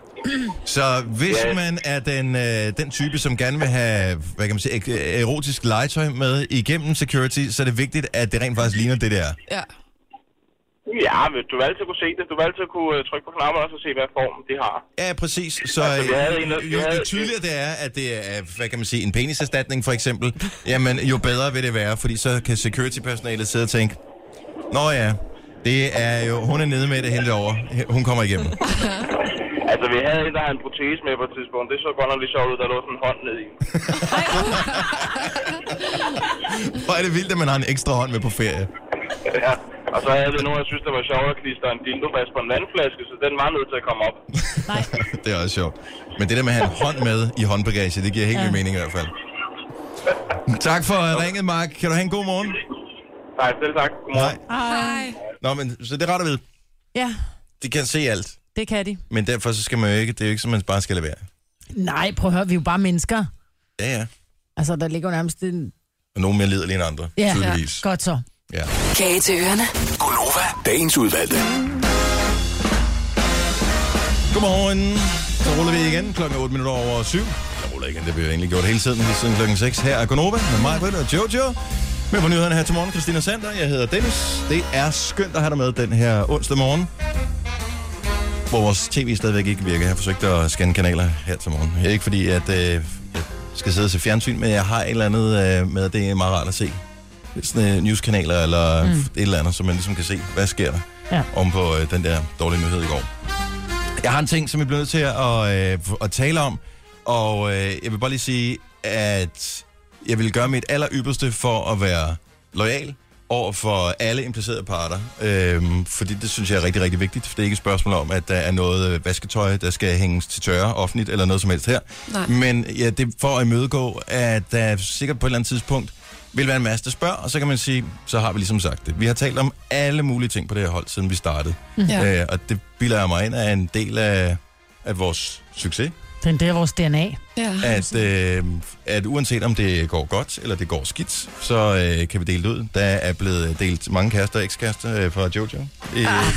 Så hvis
Ja.
man er den, øh, den type, som gerne vil have hvad kan man sige, ek- erotisk legetøj med igennem security, så er det vigtigt, at det rent faktisk ligner det der.
Ja.
Ja, men du vil altid kunne se det. Du vil altid kunne øh, trykke på knapperne og så se, hvad form de har.
Ja, præcis. Så øh,
Altså, vi havde en-
jo,
vi
jo
havde-
tydeligere det er, at det er, hvad kan man sige, en peniserstatning for eksempel, jamen jo bedre vil det være, fordi så kan security-personalet sidde og tænke, Nå ja, det er jo, hun er nede med det hen derovre. Hun kommer igennem.
Altså, vi havde en, der havde en protese med på et tidspunkt. Det så godt nok lidt sjovt ud, der lå sådan en hånd ned i.
Hvor er det vildt, at man har en ekstra hånd med på ferie.
Ja, og så havde det nogen, jeg synes, det var sjovt at klistre en dildofast på en vandflaske, så den var nødt til at komme op.
det er også sjovt. Men det der med at have en hånd med i håndbagage, det giver helt ja. mening i hvert fald. Tak for uh, ringet, Mark. Kan du have en god morgen?
Nej, selv tak. Godmorgen.
Hej.
Nå, men så det er rart at vide.
ja,
De kan se alt,
det kan de.
men derfor så skal man jo ikke, det er jo ikke, som man bare skal lade være.
Nej, prøv at høre, vi er jo bare mennesker.
Ja, ja.
Altså, der ligger jo nærmest en...
Og nogen mere liderlige end andre,
Ja,
tydeligvis.
godt så.
Ja.
Kage til ørerne.
Gonova, dagens udvalgte.
Godmorgen. Så ruller vi igen klokken 8 minutter over 7. Jeg ruller igen, det bliver egentlig gjort hele tiden, lige siden klokken 6. Her er Konoba med mig, Britt og Jojo. Med på nyhederne her til morgen, Christina Sander. Jeg hedder Dennis. Det er skønt at have dig med den her onsdag morgen. Hvor vores tv stadigvæk ikke virker. Jeg har forsøgt at scanne kanaler her til morgen. Ikke fordi, at øh, jeg skal sidde og se fjernsyn, men jeg har et eller andet øh, med, at det er meget rart at se. Sådan øh, newskanaler eller mm. et eller andet, så man ligesom kan se, hvad sker der
Ja.
om på øh, den der dårlige nyhed i går. Jeg har en ting, som vi bliver nødt til at, øh, at tale om, og øh, jeg vil bare lige sige, at jeg vil gøre mit aller ypperste for at være lojal over for alle implicerede parter, øhm, fordi det synes jeg er rigtig, rigtig vigtigt, for det er ikke et spørgsmål om, at der er noget øh, vasketøj, der skal hænges til tørre offentligt, eller noget som helst her.
Nej.
Men ja, det er for at imødegå, at der sikkert på et eller andet tidspunkt vil være en masse, der spørger, og så kan man sige, så har vi ligesom sagt det. Vi har talt om alle mulige ting på det her hold, siden vi startede.
Ja.
Øh, og det bilder jeg mig ind er en del af, af vores succes.
Den der er vores DNA.
Ja.
at, øh, at uanset om det går godt eller det går skidt, så øh, kan vi dele det ud. Der er blevet delt mange kærester og ekskærester øh, fra Jojo. I, gennem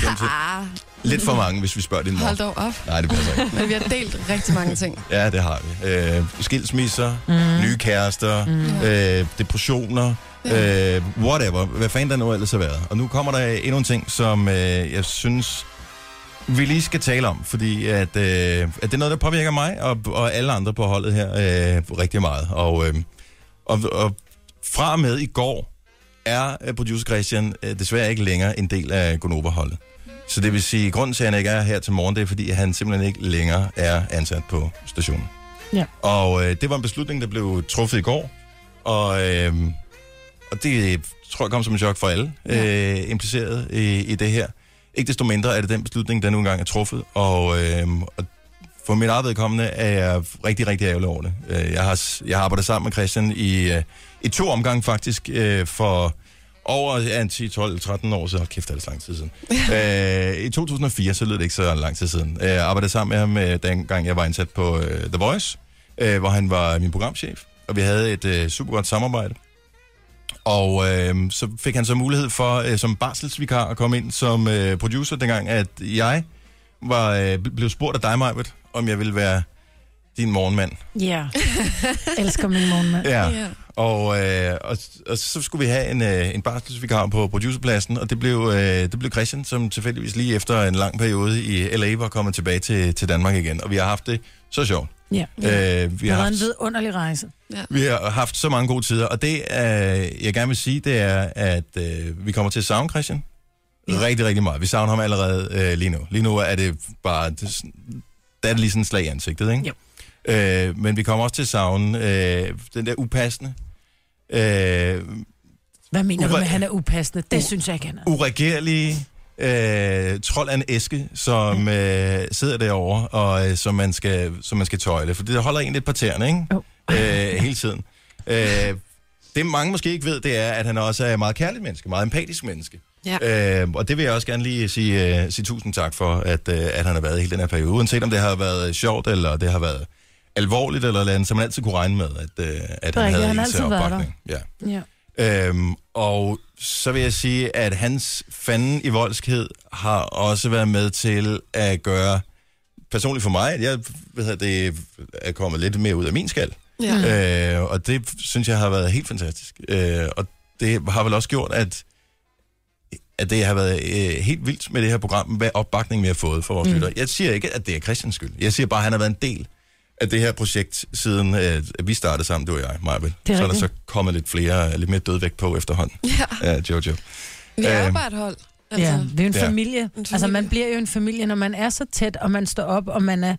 tiden.
Ah,
Lidt for mange, hvis vi spørger din mor.
hold dog op.
Nej, det passer ikke.
Men vi har delt rigtig mange ting.
Ja, det har vi. Øh, skilsmisser, mm. nye kærester, mm. øh, depressioner, øh, whatever. Hvad fanden der nu ellers har været. Og nu kommer der endnu en ting, som øh, jeg synes, vi lige skal tale om, fordi at, øh, at det er noget, der påvirker mig og, og alle andre på holdet her øh, rigtig meget. Og, øh, og, og fra og med i går er øh, producer Christian øh, desværre ikke længere en del af Gonova-holdet. Så det vil sige, at grunden til, at han ikke er her til morgen, det er, fordi han simpelthen ikke længere er ansat på stationen.
Ja.
Og øh, det var en beslutning, der blev truffet i går, og, øh, og det øh, tror jeg kom som en chok for alle øh, impliceret i, i det her. Ikke desto mindre er det den beslutning, der nu engang er truffet, og, øh, og for mit eget vedkommende er jeg rigtig, rigtig ærgerlig over det. Øh, Jeg har, s- jeg har arbejdet sammen med Christian i, øh, i to omgange faktisk, øh, for over ja, 10, 12, 13 år, så hold kæft, det er det så lang tid siden. øh, I 2004, så lød det ikke så lang tid siden. Øh, Jeg arbejdede sammen med ham, øh, dengang jeg var ansat på øh, The Voice, øh, hvor han var min programchef, og vi havde et øh, super godt samarbejde. Og øh, så fik han så mulighed for øh, som barselsvikar at komme ind som øh, producer, dengang at jeg var, øh, bl- blev spurgt af dig, Majbet, om jeg ville være din morgenmand.
Ja. Elsker min morgenmand.
Ja.
Ja.
Og, øh, og, og så skulle vi have en, øh, en barselsvikar på producerpladsen, og det blev, øh, det blev Christian, som tilfældigvis lige efter en lang periode i LA var kommet tilbage til, til Danmark igen. Og vi har haft det så sjovt.
Ja.
Øh, vi
Det
har
har været
haft
en vidunderlig rejse.
vi har haft så mange gode tider, og det, øh, jeg gerne vil sige, det er, at øh, vi kommer til at savne Christian. Rigtig, rigtig meget. Vi savner ham allerede øh, lige nu. Lige nu er det bare, det, er sådan- der er det lige sådan et slag i ansigtet, ikke? Jo. Øh, men vi kommer også til at savne øh, den der upassende, øh,
Hvad mener du
Ure-
med, at han er upassende? Det
U-
synes jeg ikke, han er.
uregerlige øh, trold af en æske,
Mm.
som øh, sidder derovre, og øh, som, man skal, som man skal tøjle. For det holder en lidt på tæerne, ikke?
Jo.
øh, hele tiden. Øh, det mange måske ikke ved, det er, at han også er et meget kærligt menneske, meget empatisk menneske. Ja. Øh, og det vil jeg også gerne lige sige, øh, sige tusind tak for, at, øh, at han har været i hele den her periode. Uanset om det har været sjovt, eller det har været alvorligt, eller noget andet, så man altid kunne regne med, at, øh, at han
rigtigt,
havde
han
en
har
til
altid været
opbakning. Ja.
Ja.
Øhm, og så vil jeg sige, at hans fanden i voldskhed har også været med til at gøre, personligt for mig, at jeg ved at det er kommet lidt mere ud af min skal.
Ja.
Øh, og det synes jeg har været helt fantastisk. Øh, og det har vel også gjort, at, at det har været øh, helt vildt med det her program, hvad opbakning vi har fået fra vores mm. lyttere. Jeg siger ikke, at det er Christians skyld. Jeg siger bare, at han har været en del af det her projekt, siden øh, vi startede sammen, du og jeg, Marvel. Så
er
er der
rigtigt.
så kommet lidt flere, lidt mere dødvægt på efterhånden.
ja.
Ja, Jojo.
Vi er jo
Øhm.
bare et hold. Altså,
Ja,
ja.
vi er jo en
Ja.
ja. familie. Altså, man bliver jo en familie, når man er så tæt, og man står op, og man er,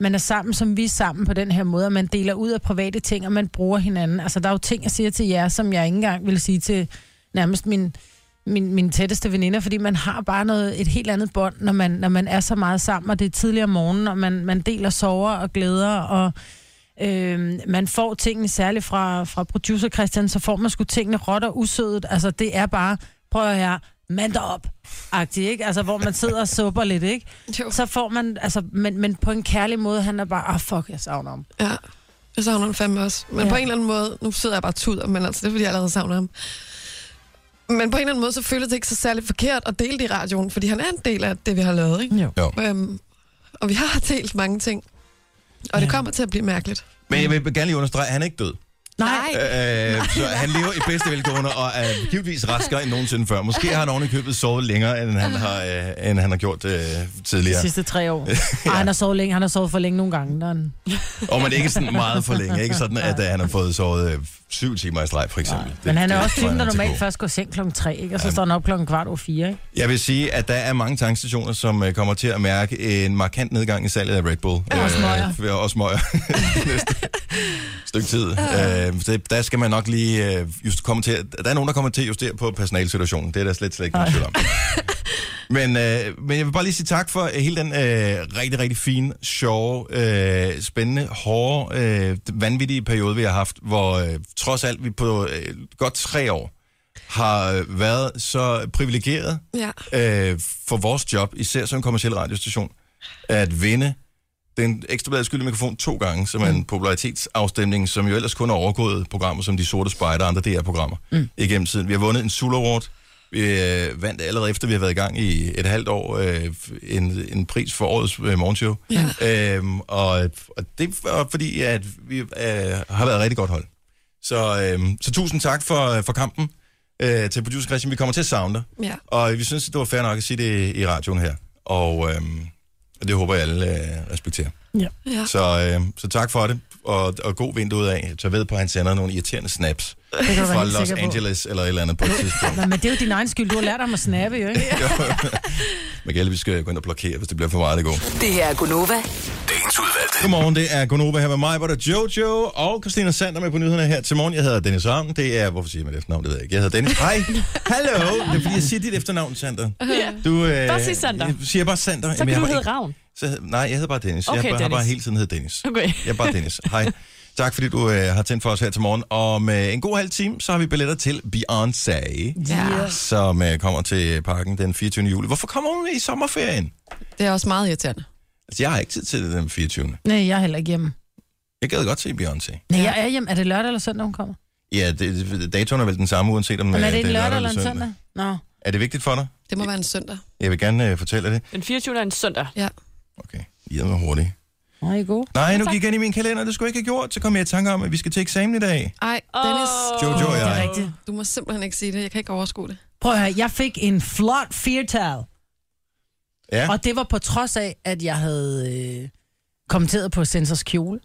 man er sammen, som vi er sammen på den her måde, og man deler ud af private ting, og man bruger hinanden. Altså, der er jo ting, jeg siger til jer, som jeg ikke engang vil sige til nærmest min, min, min tætteste veninder, fordi man har bare noget, et helt andet bånd, når man, når man er så meget sammen, og det er tidligere om morgenen, og man, man deler sover og glæder, og øh, man får tingene, særligt fra, fra producer Christian, så får man sgu tingene råt og usødet. Altså, det er bare, prøv at høre, mand dig op, agtig, ikke? Altså, hvor man sidder og supper lidt, ikke?
Jo.
Så får man, altså, men, men på en kærlig måde, han er bare, ah, fuck, jeg savner ham.
ja. Jeg savner ham fandme også. Men
Ja.
ja. på en eller anden måde, nu sidder jeg bare og tuder, men altså, det er fordi, jeg allerede savner ham. Men på en eller anden måde, så føles det ikke så særlig forkert at dele det i radioen, fordi han er en del af det, vi har lavet, ikke?
Jo.
Jo.
Øhm, og vi har delt mange ting. Og ja. det
Ja.
kommer til at blive mærkeligt.
Men jeg vil gerne lige understrege, at han er ikke død.
Nej.
Øh, så han lever i bedste velgående og er givetvis raskere end nogensinde før. Måske har han oven i købet sovet længere, end han har, øh, end han har gjort øh,
De
tidligere.
sidste tre år. ja. Ej, han har sovet længe, han har sovet for længe nogle gange. Der er en...
Og man ikke sådan meget for længe. Ikke sådan, at øh, han har fået sovet øh, syv timer i streg, for eksempel. Det-
Men han er
det
også
tror jeg,
typen, der
er til
normalt
god.
først går i seng klokken tre, ikke? Og så står han op klokken kvart over fire, ikke?
Jeg vil sige, at der er mange tankstationer, som øh, kommer til at mærke en markant nedgang i salget af Red Bull.
Ja, også Møjer.
Øh, og også møger. Næste stykke tid. Øh, så det, der skal man nok lige øh, just komme til. at- Der er nogen, der kommer til at justere på personalsituationen. Det er der slet, slet ikke nogen tvivl om. Men, øh, men jeg vil bare lige sige tak for øh, hele den øh, rigtig, rigtig fine, sjove, øh, spændende, hårde, øh, vanvittige periode, vi har haft, hvor øh, trods alt vi på øh, godt tre år har øh, været så privilegeret
Ja.
øh, for vores job, især som kommersiel radiostation, at vinde den ekstrabladet skyldige mikrofon to gange, som er en popularitetsafstemning, som jo ellers kun har overgået programmer som De Sorte Spejder og andre DR-programmer mm. igennem tiden. Vi har vundet en Zulu Award. Vi øh, vandt allerede efter, vi har været i gang i et halvt år, øh, f- en, en pris for årets øh, morgenshow. Ja. Øhm, og, og det var fordi, at vi øh, har været et rigtig godt hold. Så, øh, så tusind tak for, for kampen øh, til producer Christian. Vi kommer til at savne dig.
Ja.
Og vi synes, det var fair nok at sige det i radioen her. Og, øhm, og det håber jeg alle øh, respekterer.
Ja.
Så, øh, så tak for det, og, og god vind ud af. Tag ved på, at han sender nogle irriterende snaps
Det kan du være
fra
helt
Los
sikker på.
Angeles eller et eller andet på et tidspunkt.
Nå, men det er jo din egen skyld. Du har lært ham at snappe, jo ikke?
Man kan heldigvis gå ind og blokere, hvis det bliver for meget det går.
Det her er Gunova.
Dagens udvalgte.
Godmorgen, det er Gunova her med mig, hvor der er Jojo og Christina Sander med på nyhederne her til morgen. Jeg hedder Dennis Ravn. Det er, hvorfor siger man det efternavn, det ved jeg ikke. Jeg hedder Dennis. Hej. Hallo. Det er fordi, jeg siger dit efternavn, Sander.
Ja.
Du, øh,
Bare sig Sander.
Jeg siger bare Sander. Jamen,
Så kan
jeg
du
har
hedde
ikke-
Ravn.
Så, hed- nej, jeg hedder bare Dennis.
Okay,
jeg har bare- har bare
Dennis.
hele tiden heddet Dennis.
Okay.
Jeg er bare Dennis. Hej. Tak fordi du øh, har tændt for os her til morgen. Om øh, en god halv time, så har vi billetter til Beyoncé,
ja.
som øh, kommer til parken den 24. juli. Hvorfor kommer hun i sommerferien?
Det er også meget irriterende.
Altså, jeg har ikke tid til det den 24.
Nej, jeg er heller ikke hjemme.
Jeg gad godt se Beyoncé.
Nej, jeg er hjemme. Er det lørdag eller søndag, hun kommer?
Ja, det, datoen er vel den samme, uanset om
Men er
øh,
det en lørdag eller en søndag? Nå.
Er det vigtigt for dig?
Det må være en søndag.
Jeg vil gerne øh, fortælle dig det.
Den 24. er en søndag.
Ja.
Okay, jeg er hurtigt.
Nå, I er gode.
Nej, nu gik jeg ind i min kalender, det skulle jeg ikke have gjort. Så kom jeg i tanke om, at vi skal til eksamen i dag.
Ej, Dennis,
Jojo og
det er
jeg.
rigtigt.
du må simpelthen ikke sige det. Jeg kan ikke overskue det.
Prøv at høre, jeg fik en flot firtal.
Ja.
Og det var på trods af, at jeg havde øh, kommenteret på Sensors kjole.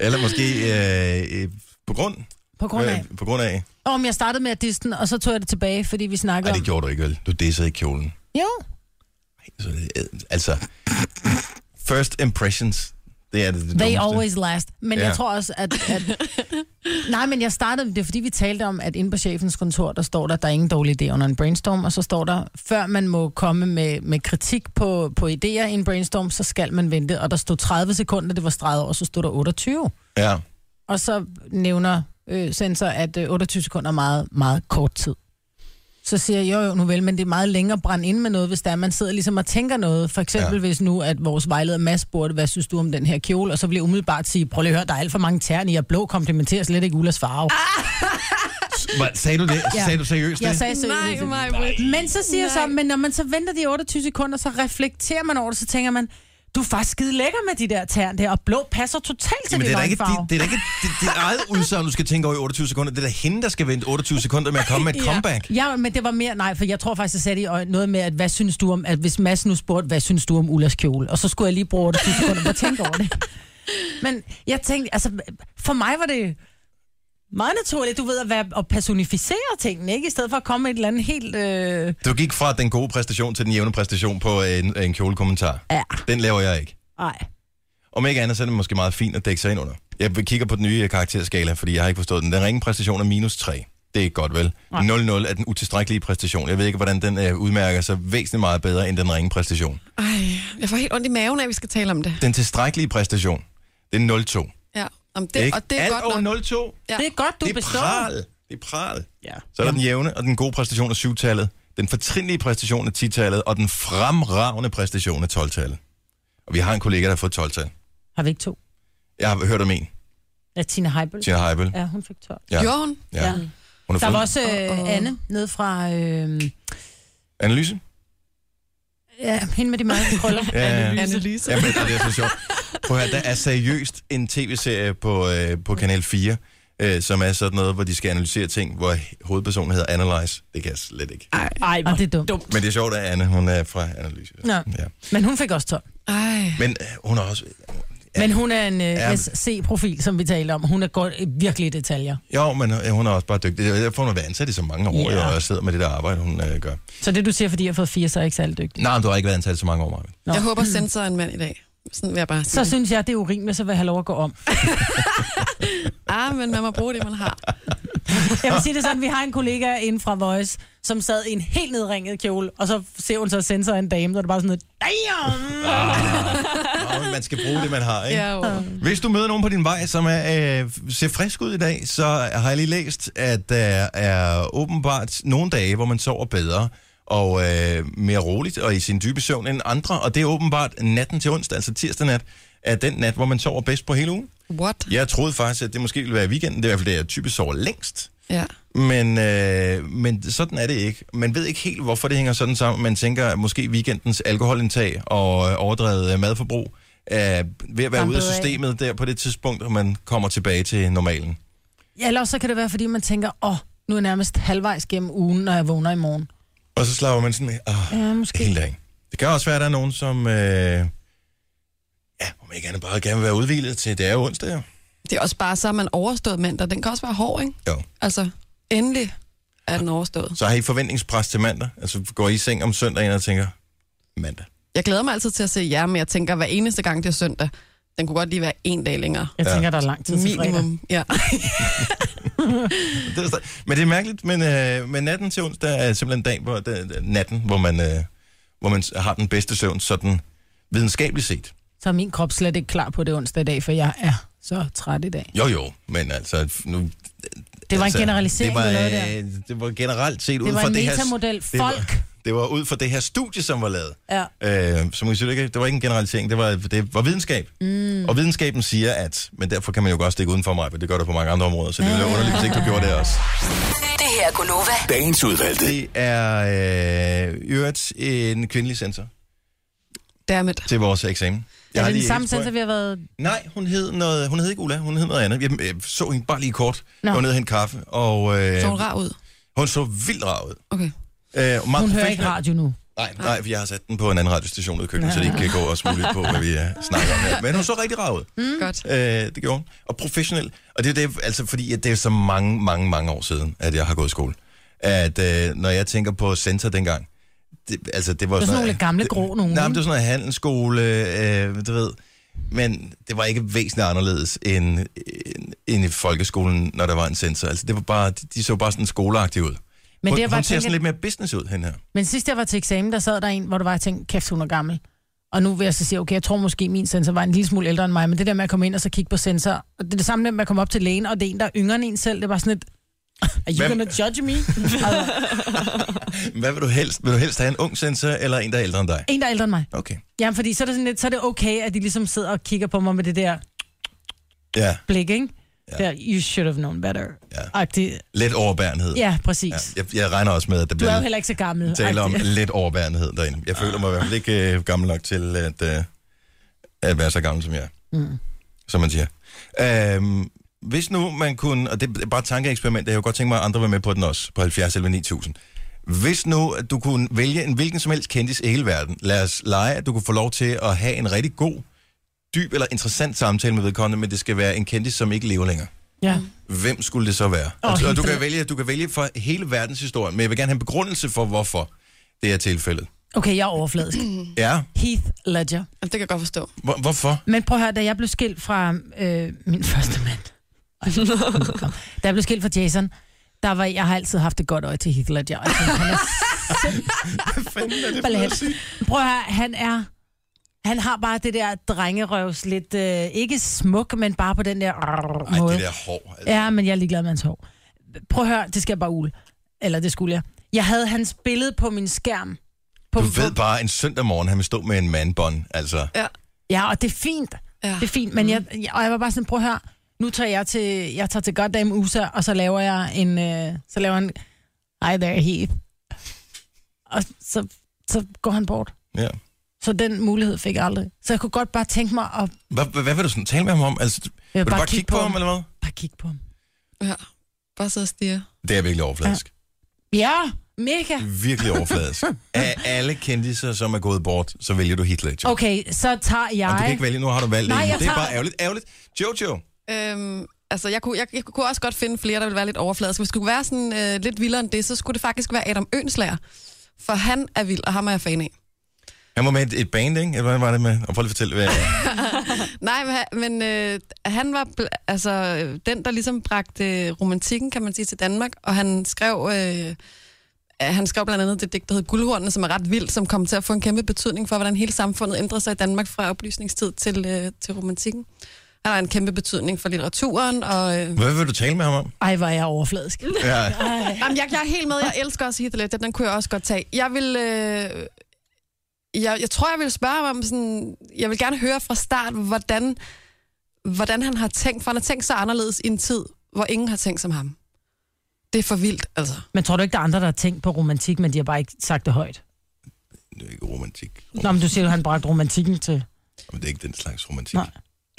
Eller måske øh, øh, på grund.
På grund af,
Øh, på grund af.
øh. om jeg startede med at disse den, og så tog jeg det tilbage, fordi vi snakkede
Nej, det gjorde du ikke, vel? Du dissede ikke kjolen.
om... Jo,
Så, øh, altså, first impressions, det er det, det
they
dummeste.
always last. Men
Ja.
jeg tror også, at... at nej, men jeg startede... Det er fordi, vi talte om, at inde på chefens kontor, der står der, der er ingen dårlig idé under en brainstorm, og så står der, før man må komme med, med kritik på, på idéer i en brainstorm, så skal man vente. Og der stod 30 sekunder, det var streget over, så stod der 28.
Ja.
Og så nævner øh, sensor, at øh, 28 sekunder er meget, meget kort tid. Så siger jeg, jo, jo, nu vel, men det er meget længere at brænde ind med noget, hvis der er, man sidder ligesom og tænker noget. For eksempel
Ja.
ja. hvis nu, at vores vejleder Mads spurgte, hvad synes du om den her kjole? Og så bliver jeg umiddelbart sige, prøv lige at høre, der er alt for mange tern i, og blå komplementerer slet ikke Ullas farve. Ah,
Hvad, sagde du det?
Ja.
Sagde du seriøst
jeg
det?
sagde seriøst
Nej,
det.
nej,
Men så siger jeg så, men når man så venter de 28 sekunder, så reflekterer man over det, så tænker man, du er faktisk skide lækker med de der tern der, og blå passer totalt til
Men det er da ikke,
farve.
det, det er da ikke det, det eget udsagn, du skal tænke over i 28 sekunder. Det er da hende, der skal vente 28 sekunder med at komme med et comeback.
Ja, men det var mere, nej, for jeg tror faktisk, jeg sagde det i øjnene, noget med, at hvad synes du om, at hvis Mads nu spurgte, hvad synes du om Ullas kjole? Og så skulle jeg lige bruge 28 sekunder på at tænke over det. Men jeg tænkte, altså, for mig var det meget naturligt, du ved, at, være, at personificere tingene, ikke? I stedet for at komme med et eller andet helt... Øh...
Du gik fra den gode præstation til den jævne præstation på en, en kjolekommentar.
Ja,
Den laver jeg ikke.
nej.
Om ikke andet, så er det måske meget fint at dække sig ind under. Jeg kigger på den nye øh, karakterskala, fordi jeg har ikke forstået den. Den ringe præstation er minus 3. Det er ikke godt, vel? 0-0 er den utilstrækkelige præstation. Jeg ved ikke, hvordan den øh, udmærker sig væsentligt meget bedre end den ringe præstation.
Ej, jeg får helt ondt i maven af, at vi skal tale om det.
Den tilstrækkelige præstation, det er 0-2.
Ja, om det,
Ikke?
og det er
Alt
godt nok.
over 0-2.
Ja.
Det er godt, du
det er
består.
pral. Det er pral. Ja. Så er der den jævne, og den gode præstation er 7-tallet, den fortrinlige præstation er 10-tallet, og den fremragende præstation er 12-tallet. Og vi har en kollega, der har fået 12-tal.
Har vi ikke to?
Jeg har hørt om en,
Ja, Tina Heibel.
Tina Heibel.
Ja, hun fik 12.
Ja.
Gjorde hun?
Ja. Hun har
Der var
fået
også øh, Anne nede fra... Øh,
analyse.
ja, hende med de mange krøller.
Ja, ja.
Annelise.
Ja, men det er så sjovt. Prøv at høre, der er seriøst en tv-serie på, øh, på Kanal 4, øh, som er sådan noget, hvor de skal analysere ting, hvor hovedpersonen hedder Analyze. Det kan jeg slet ikke.
Ej,
Og
hvor
Ah, det er dumt.
dumt.
Men det er sjovt, at Anne, hun er fra Analyse.
Nå.
Ja.
Men hun fik også 12.
Ej.
Men øh, hun er også...
Men hun er en
Ja.
øh, SC-profil, som vi taler om. Hun er godt, øh, virkelig i detaljer.
Jo, men øh, hun er også bare dygtig. Jeg får hun har været ansat i så mange år,
Ja.
yeah. og jeg sidder med det der arbejde, hun øh, gør.
Så det, du siger, fordi jeg har fået fire, så er jeg ikke særlig dygtig.
Nej, men du har ikke været ansat i så mange år, Marvin.
Jeg håber, sensor er en mand i dag. Sådan vil jeg bare sige.
Så synes jeg, det er urimeligt, så vil jeg have lov at gå om.
Ah, men man må bruge det, man har.
Jeg vil sige det sådan, vi har en kollega inden fra Voice, som sad i en helt nedringet kjole, og så ser hun så sensor af en dame, og det er bare sådan noget, damn!
Nå, men man skal bruge det, man har, ikke?
Ja, jo.
Hvis du møder nogen på din vej, som er, øh, ser frisk ud i dag, så har jeg lige læst, at der er åbenbart nogle dage, hvor man sover bedre, og øh, mere roligt og i sin dybe søvn end andre. Og det er åbenbart natten til onsdag, altså tirsdag nat, er den nat, hvor man sover bedst på hele ugen.
What?
Jeg troede faktisk, at det måske ville være i weekenden. Det er i hvert fald det, jeg typisk sover længst.
Ja.
Men, øh, men sådan er det ikke. Man ved ikke helt, hvorfor det hænger sådan sammen. Man tænker, at måske weekendens alkoholindtag og øh, overdrevet øh, madforbrug er ved at være ude af
Dampet af.
systemet der på det tidspunkt, og man kommer tilbage til normalen.
Ja, eller også så kan det være, fordi man tænker, åh, oh, nu er jeg nærmest halvvejs gennem ugen, når jeg vågner i morgen.
Og så slapper man sådan af. Oh,
Ja, måske.
helt af. Det kan også være, at der er nogen, som... Øh, ja, om ikke andet bare gerne vil være udvilet til, det er jo onsdag, jo.
Det er også bare, så har man overstået mandag. Den kan også være hård, ikke?
jo.
Altså, endelig er den overstået.
Så har I forventningspres til mandag? Altså går I i seng om søndagen og tænker, mandag.
Jeg glæder mig altid til at se jer, men jeg tænker, hver eneste gang det er søndag, den kunne godt lige være en dag længere.
Jeg
Ja.
tænker, der er lang tid til fredag.
Minimum, ja.
Det er, sta- men det er mærkeligt, men, øh, men natten til onsdag er simpelthen dag, hvor, den, natten, hvor man, øh, hvor man s- har den bedste søvn, sådan videnskabeligt set.
Så er min krop slet ikke klar på det onsdag i dag, for jeg er så træt i dag.
Jo jo, men altså... Nu,
Det var en
altså,
generalisering,
det var,
du lavede der.
øh, det var generelt set ud
Det var
fra
en
det her...
metamodel.
det var-
Folk!
Det var ud fra det her studie, som var lavet.
Ja.
Øh, som I synes, ikke- det var ikke en generalisering, det var, det var videnskab. Mm. Og videnskaben siger, at... Men derfor kan man jo godt stikke uden for mig, for det gør det på mange andre områder, så det
Ah.
ville være underligt, hvis ikke du gjorde det også.
Det her er Gunova.
Dagens udvalgte.
Det er øh, i øvrigt en kvindelig sensor
Dammit.
til vores eksamen. Jeg
Er
har
det Altså, den
lige
samme
helt spøj-
sensor, vi har været...
Nej, hun hed, noget, hun hed ikke Ulla, hun hed noget andet. Jeg, jeg så hende bare lige kort.
Nå.
Hun nede og hente kaffe, og øh,
Så hun rar ud.
hun så vildt rar ud.
Okay.
Øh, og meget
Hun hører ikke
professionel.
radio nu.
Nej, nej, for jeg har sat den på en anden radiostation ude i køkkenet, så det ikke kan gå og smule på, hvad vi øh, snakker om her. Men hun så rigtig rar ud.
Mm. Godt.
Øh, det gjorde hun. Og professionel. Og det er det, altså, fordi at det er så mange, mange, mange år siden, at jeg har gået i skole. At øh, når jeg tænker på center dengang, det, altså, det var
Det var sådan
noget-
nogle gamle
det-
grå nogen,
Nej, men
ikke?
det var sådan noget handelsskole, øh, du ved. Men det var ikke væsentligt anderledes end, end, end i folkeskolen, når der var en sensor. Altså, det var bare, de, de så bare sådan skoleagtige ud.
Men
hun,
det, jeg bare
hun ser
tænker-
sådan lidt mere business ud, hende her.
Men sidst jeg var til eksamen, der sad der en, hvor du var, jeg tænkte, kæft, hun er gammel. Og nu vil jeg så sige, okay, jeg tror måske, min sensor var en lille smule ældre end mig, men det der med at komme ind og så kigge på sensor, og det er det samme med at komme op til lægen, og det er en, der er yngre end en selv, det var sådan et, are you
Hvem-
gonna judge me? altså,
Hvad vil du helst? Vil du helst have en ung sensor, eller en, der er ældre end dig?
en, der er ældre end mig.
Okay.
Jamen, fordi så er det sådan lidt, så er det okay, at de ligesom sidder og kigger på mig med det der
Ja,
blik, ikke?
Ja.
Ja. Der, you should have known better.
Ja.
Agtigt.
let overbærenhed.
Ja, præcis.
Ja, jeg, jeg regner også med, at der
Du er jo
bliver
heller ikke så gammel.
tale om
agtigt.
lidt overværenhed derinde. Jeg føler mig i hvert fald ikke øh, gammel nok til at, øh, at være så gammel, som jeg er. Mm. Som man siger. Øhm, hvis nu man kunne, og det er bare et tankeeksperiment, jeg kunne godt tænke mig, at andre var med på den også, på 70 eller 9000. Hvis nu at du kunne vælge en hvilken som helst kendis i hele verden, lad os lege, at du kunne få lov til at have en rigtig god, dyb eller interessant samtale med vedkommende, men det skal være en kendis, som ikke lever længere
Ja.
hvem skulle det så være?
Åh,
Oh, altså, og
helt
du kan,
vildt.
vælge, du kan vælge for hele verdenshistorien, men jeg vil gerne have en begrundelse for, hvorfor det er tilfældet.
Okay, jeg er overfladisk.
Ja,
Heath Ledger.
Jamen, det kan jeg godt forstå.
hvor, hvorfor?
Men prøv at høre, da jeg blev skilt fra øh, min første mand, Ej, da jeg blev skilt fra Jason, der var, jeg har altid haft et godt øje til Heath Ledger. Altså, han er simpelthen... Prøv at høre, han er... Han har bare det der drengerøvs lidt, øh, ikke smuk, men bare på den der
Ej,
måde.
det der hår. Altså.
Ja, men jeg er ligeglad med hans hår. Prøv at høre, det skal jeg bare ule. Eller det skulle jeg. Jeg havde hans billede på min skærm. På,
Du ved
på-
bare, en søndag morgen, han vil stå med en mandbånd. Altså,
Ja, og det er fint.
Ja.
Det er fint, men jeg, jeg, og jeg var bare sådan, prøv at høre, nu tager jeg til, jeg tager til Goddamn USA, og så laver jeg en, øh, så laver en, hi there Heath. Og så, så går han bort.
ja.
Så den mulighed fik jeg aldrig. Så jeg kunne godt bare tænke mig at
Hvad, hvad, hvad vil du sådan tale med ham om? Altså,
øh,
vil du bare kigge på ham, eller hvad?
Bare kigge på ham.
Ja. Bare sidde og stige.
Det er virkelig overfladisk.
Ja, mega.
Virkelig overfladisk. Af alle kendiser, som er gået bort, så vælger du Hitler. Okay.
Okay, så tager
Jamen, du kan
jeg...
ikke vælge, nu har du valgt
Nej,
en.
jeg
Det er
tager-
bare ærgerligt. Ærgerligt. Jojo,
Øhm, altså, jeg kunne, jeg, jeg kunne også godt finde flere, der ville være lidt overfladiske. Hvis det skulle være sådan øh, lidt vildere end det, så skulle det faktisk være Adam Ønslager. For han er vild, og ham er jeg fan af.
han var med i et- et band, ikke? Eller hvad var det med? Og prøv lige at fortælle, hvad...
Nej, men, han- men øh, han var bl- altså, øh, den, der ligesom bragte øh, romantikken, kan man sige, til Danmark. Og han skrev, øh, øh, han skrev blandt andet det digt, der hed Guldhornene, som er ret vildt, som kom til at få en kæmpe betydning for, hvordan hele samfundet ændrede sig i Danmark fra oplysningstid til, øh, til romantikken. han har en kæmpe betydning for litteraturen. Og, øh,
Hvad vil du tale med ham om?
Ej, hvor er jeg overfladisk.
Ja.
Jamen, jeg, jeg er helt med. Jeg elsker også Heath Ledger. Den kunne jeg også godt tage. Jeg vil... Øh, jeg, jeg tror, jeg vil spørge ham om sådan... Jeg vil gerne høre fra start, hvordan, hvordan han har tænkt. For han har tænkt så anderledes i en tid, hvor ingen har tænkt som ham. Det er for vildt, altså.
Men tror du ikke, der er andre, der har tænkt på romantik, men de har bare ikke sagt det højt?
Det er ikke romantik.
Nå, men du siger, at han bragte romantikken til.
Men det er ikke den slags romantik.
Nej.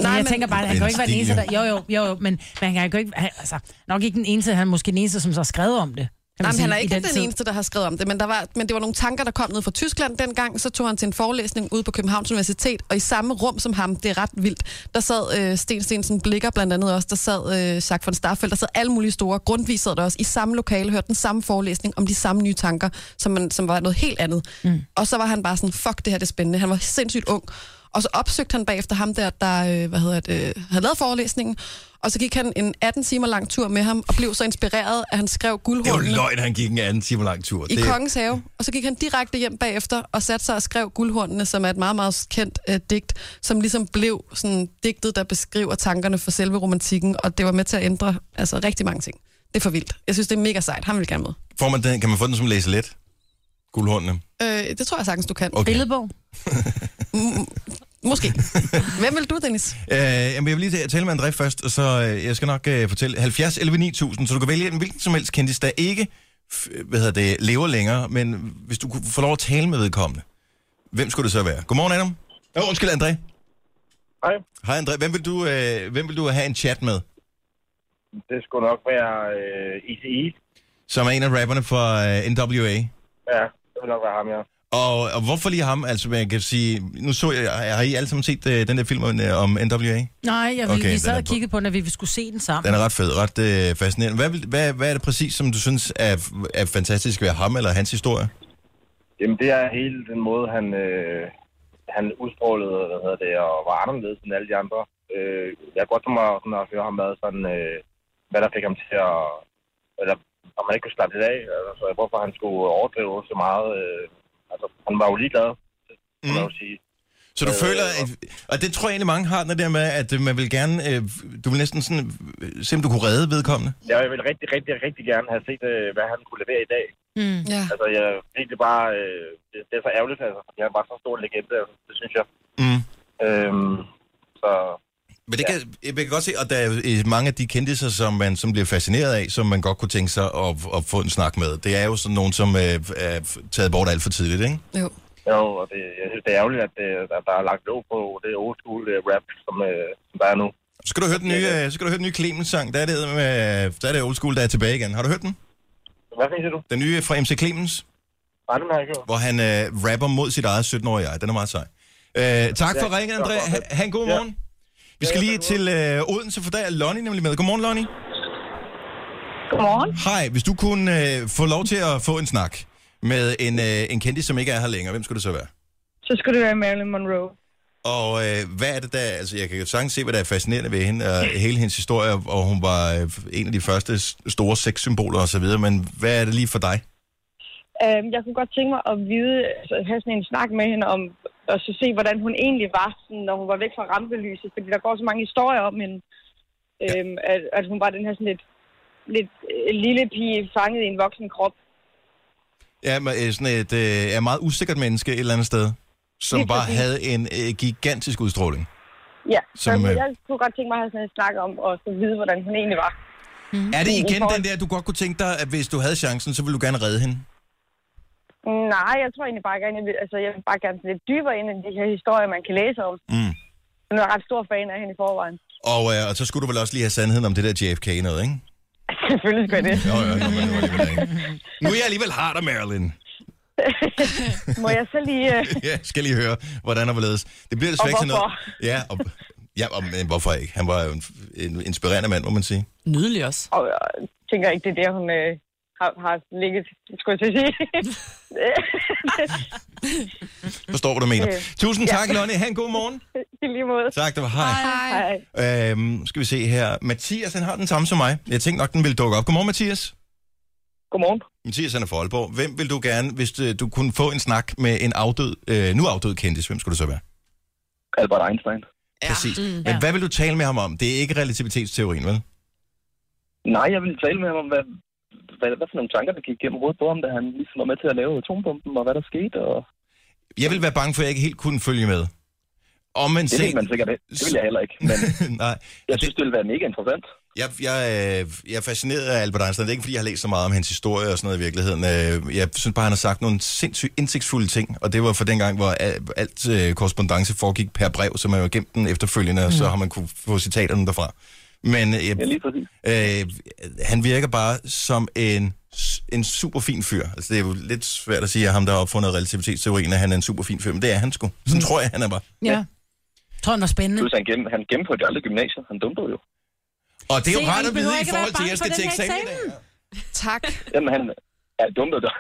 Nej, jeg men... tænker bare, at han
Det er
kan jo
en
ikke være den
stil,
eneste, der... Jo, jo, jo, jo men, men han kan jo ikke... Han, altså, nok ikke den eneste, han er måske den eneste, som så har skrevet om det. kan man
Nej, men han
sige,
er
i
ikke den, den
tid.
eneste, der har skrevet om det, men, der var, men det var nogle tanker, der kom ned fra Tyskland dengang. Så tog han til en forelæsning ude på Københavns Universitet, og i samme rum som ham, det er ret vildt, der sad øh, Sten Stensen Blikker blandt andet også, der sad øh, Jacques von Starfeldt, der sad alle mulige store. Grundtvig sad der også i samme lokale, hørte den samme forelæsning om de samme nye tanker, som, man, som var noget helt andet. Mm. Og så var han bare sådan, fuck, det her det er spændende. Han var sindssygt ung. Og så opsøgte han bagefter ham der, der øh, hvad hedder det, øh, havde lavet forelæsningen, og så gik han en 18 timer lang tur med ham, og blev så inspireret, at han skrev
Det er jo
guldhornene.
løgn, han gik en anden time lang tur.
I
det...
Kongens Have. Og så gik han direkte hjem bagefter og satte sig og skrev Guldhornene, som er et meget, meget kendt øh, digt, som ligesom blev sådan digtet, der beskriver tankerne for selve romantikken, og det var med til at ændre altså, rigtig mange ting. Det er for vildt. Jeg synes, det er mega sejt. Han vil gerne med.
Får man den, kan man få den som læselet? Guldhåndene.
Øh, det tror jeg sagtens, du kan.
Okay.
Billedbog.
Måske. Hvem vil du, Dennis?
Øh, jamen, jeg vil lige tale med André først, og så øh, jeg skal nok øh, fortælle 70 11 9000, så du kan vælge en hvilken som helst kendis, der ikke f- hvad hedder det, lever længere, men hvis du kunne få lov at tale med vedkommende, hvem skulle det så være? Godmorgen, Adam. Nå, undskyld, André.
Hej.
Hej, André. Hvem vil, du, øh, hvem vil du have en chat med,
Det skulle nok være øh, ICI.
som er en af rapperne fra øh, NWA?
Ja, det vil nok være ham, ja.
Og, og hvorfor lige ham? Altså, man kan sige... Nu så jeg... Har I alle sammen set øh, den der film om, øh, om NWA?
Nej, jeg, okay,
Okay, den
vi sad
er
og
på.
kiggede på den, at vi skulle se den sammen.
Den er ret fed, ret øh, fascinerende. Hvad, vil- hvad, hvad er det præcis, som du synes er, er fantastisk ved ham eller hans historie?
Jamen, det er hele den måde, han, øh, han udstrålede, hvad hedder det, og var anderledes end alle de andre. Øh, jeg kan godt tænke mig sådan, at høre ham ad, sådan, øh, hvad der fik ham til at... Eller om han ikke kunne slappe lidt af, altså, hvorfor han skulle overdrive så meget. Øh, altså, han var jo ligeglad, kan
Mhm.
Mm.
man jo sige.
Så du
Øh,
føler... At, og det tror jeg egentlig mange har, den der med, at øh, man vil gerne... Øh, du vil næsten sådan... Øh, se om du kunne redde vedkommende.
Jeg vil rigtig, rigtig, rigtig gerne have set, øh, hvad han kunne levere i dag.
Mm.
Ja.
Altså, jeg er virkelig bare... Øh, det, det, er så ærgerligt, altså, fordi han var så stor en legende, altså, det synes jeg.
Mm.
Øhm, så...
Men det kan, jeg kan godt se, og der er jo, øh, mange af de kendtiser, som man som bliver fascineret af, som man godt kunne tænke sig at, at få en snak med. Det er jo sådan nogen, som øh, er f- taget bort alt for tidligt, ikke?
Jo.
Jo, og det, jeg synes, det er ærgerligt, at, det, at der er lagt låg på det old school øh, rap, som, øh, som der er nu.
Så Skal du høre den nye, øh, så skal du høre den nye Clemens-sang? Der er det, med, der er det old school, der er tilbage igen. Har du hørt den?
Hvad siger du?
Den nye fra MC Clemens,
Nej, den har jeg ikke hørt.
hvor han øh, rapper mod sit eget 17-årige jeg. Den er meget sej. Øh, tak for ringen, André. Ha, ha en god morgen. Vi skal lige til øh, Odense, for der er Lonnie nemlig med. Godmorgen, Lonnie.
Godmorgen.
Hej, hvis du kunne øh, få lov til at få en snak med en, øh, en kendis, som ikke er her længere, hvem skulle det så være?
Så skulle det være Marilyn Monroe.
Og øh, hvad er det der, altså jeg kan jo sagtens se, hvad der er fascinerende ved hende, og hele hendes historie, og hun var øh, en af de første s- store sexsymboler og så videre, men hvad er det lige for dig?
Øhm, jeg kunne godt tænke mig at vide, altså, at have sådan en snak med hende om, og så se, hvordan hun egentlig var, sådan, når hun var væk fra rampelyset, fordi der går så mange historier om hende, øhm, at, at hun var den her sådan lidt, lidt øh, lille pige fanget i en voksen krop.
Ja, men, øh, sådan et øh, er meget usikkert menneske et eller andet sted, som
Lige
bare
præcis.
havde en øh, gigantisk udstråling.
Ja, så
Som,
jeg,
øh,
jeg kunne godt tænke mig at have sådan en snak om, og så vide, hvordan hun egentlig var.
Er det igen
får-
den der, du godt kunne tænke dig, at hvis du havde chancen, så ville du gerne redde hende?
Nej, jeg tror egentlig bare gerne, jeg vil, altså, jeg vil bare gerne lidt dybere ind i de her historier, man kan læse om.
Mm.
Jeg er ret stor fan af hende i forvejen.
Og, øh, og så skulle du vel også lige have sandheden om det der JFK noget, ikke?
Selvfølgelig skal jeg det.
Jo, jo, jo, jo, jo, jo, jo. Nu er jeg alligevel har dig, Marilyn.
Må jeg så lige... Øh...
Ja, skal lige høre, hvordan og hvorledes. Det bliver desværre
Og
ikke noget. Ja, og, ja og, men hvorfor ikke? Han var jo en, en inspirerende mand, må man sige.
Nydelig også.
Og jeg tænker ikke, det er der, hun øh, har, har ligget, skulle jeg til at sige.
Forstår, hvad du mener.
Øh,
Tusind tak, Lonnie. Ha' en god morgen.
I lige måde.
Tak, det var hej.
Hej.
Øhm, skal vi se her. Mathias, han har den samme som mig. Jeg tænkte nok, den ville dukke op. Godmorgen, Mathias.
Godmorgen.
Mathias, han er fra Aalborg. Hvem vil du gerne, hvis du, du øh, kunne få en snak med en afdød, øh, nu afdød kendis, hvem skulle det så være?
Albert Einstein.
Ja.
Præcis. Men hvad vil du tale med ham om? Det er ikke relativitetsteorien, vel?
Nej, jeg ville tale med ham om, hvad, hvad, hvad for nogle tanker, der gik gennem hovedet på ham, da han ligesom var med til at lave atombomben, og hvad der skete. Og...
Jeg vil være bange for, at jeg ikke helt kunne følge med. Om man
Det ved man sikkert ikke. Det vil jeg heller ikke. Men
Nej,
jeg synes, det ville være mega interessant.
Jeg, jeg, øh, jeg er fascineret af Albert Einstein. Det er ikke, fordi jeg har læst så meget om hans historie og sådan noget i virkeligheden. Øh, Jeg synes bare, han har sagt nogle sindssygt indsigtsfulde ting, og det var for den gang, hvor al- alt øh, korrespondence foregik per brev, så man jo gemt den efterfølgende, mm. og så har man kunne få citaterne derfra. Men øh,
Ja, lige præcis.
øh, han virker bare som en, en super fin fyr. Altså, det er jo lidt svært at sige, at ham, der har opfundet relativitetsteorien, at han er en super fin fyr, men det er han sgu. Sådan tror jeg, han er bare.
Ja. Jeg tror, den var spændende.
Plus, han, gennem, han gennemførte aldrig gymnasiet. Han dumpede jo.
Og det er
Se,
jo rart
I
at
behøver
vide i
ikke at være
forhold til, at
bange
jeg
for den
skal til
her
eksamen. i dag.
eksamen.
Tak.
Jamen, han ja, dumpede det.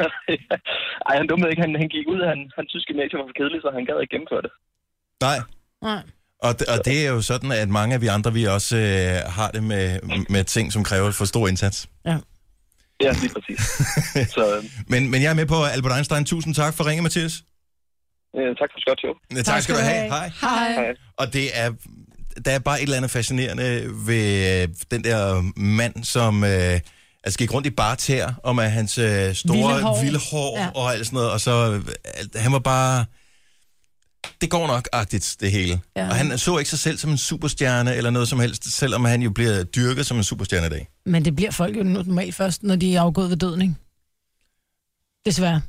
Ej, han dumpede ikke. Han, han gik ud. Han, han synes, gymnasiet var for kedeligt, så han gad ikke gennemføre det.
Nej.
Nej.
Og det, og det er jo sådan, at mange af vi andre, vi også øh, har det med, med ting, som kræver for stor indsats.
Ja, lige præcis. så
Men, men jeg er med på Albert Einstein. Tusind tak for ringe, Mathias.
øh, tak for et godt show.
Tak, tak skal du have. Hej.
Hej.
Og det er, der er bare et eller andet fascinerende ved øh, den der mand, som øh, altså gik rundt i bare tæer, og med hans øh, store
Vilde hår.
vilde hår ja.
Ja.
og alt sådan noget, og så øh, alt- han var bare... Det går nok-agtigt, det hele. Ja.
Ja.
Og han så ikke sig selv som en superstjerne eller noget som helst, selvom han jo bliver dyrket som en superstjerne i dag.
Men det bliver folk jo normalt først, når de er afgået ved døden, ikke? Desværre.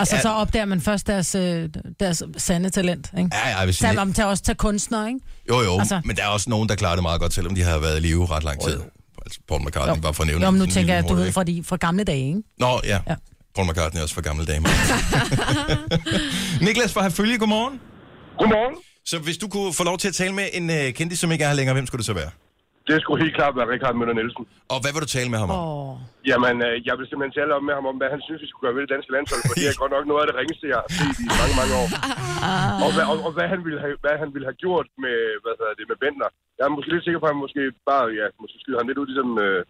Altså,
Ja.
ja. så opdager man først deres, øh, deres sande talent, ikke?
Ja, ja, jeg vil sige,
Selvom til også tage kunstnere, ikke?
Jo, jo, altså,
Altså-
men der er også nogen, der klarer det meget godt, selvom de har været i live ret lang tid. Altså Paul McCartney, jo.
Jo.
bare for at nævne
Nå, men nu
en
tænker
lille
jeg, du
hurtig,
ved, fra, de, fra gamle dage, ikke?
ikke? Nå, ja. ja.
Ja.
Paul McCartney er også fra gamle dage. Niklas fra Herfølge, godmorgen.
Godmorgen.
Så hvis du kunne få lov til at tale med en uh, kendis, som ikke er her længere, hvem skulle det så være?
Det skulle helt klart være Richard Møller Nielsen.
Og hvad vil du tale med ham om? Oh.
Åh,
Jamen, øh, jeg vil simpelthen tale om med ham om, hvad han synes, vi skulle gøre ved det danske landshold, for det er godt nok noget af det ringeste, jeg har set i mange, mange år. Og hvad, og, og hvad, han, ville have, hvad han ville have gjort med, hvad hedder det, med Bender. Jeg er måske lidt sikker på, at han måske bare, ja, måske skyder han lidt ud, ligesom øh,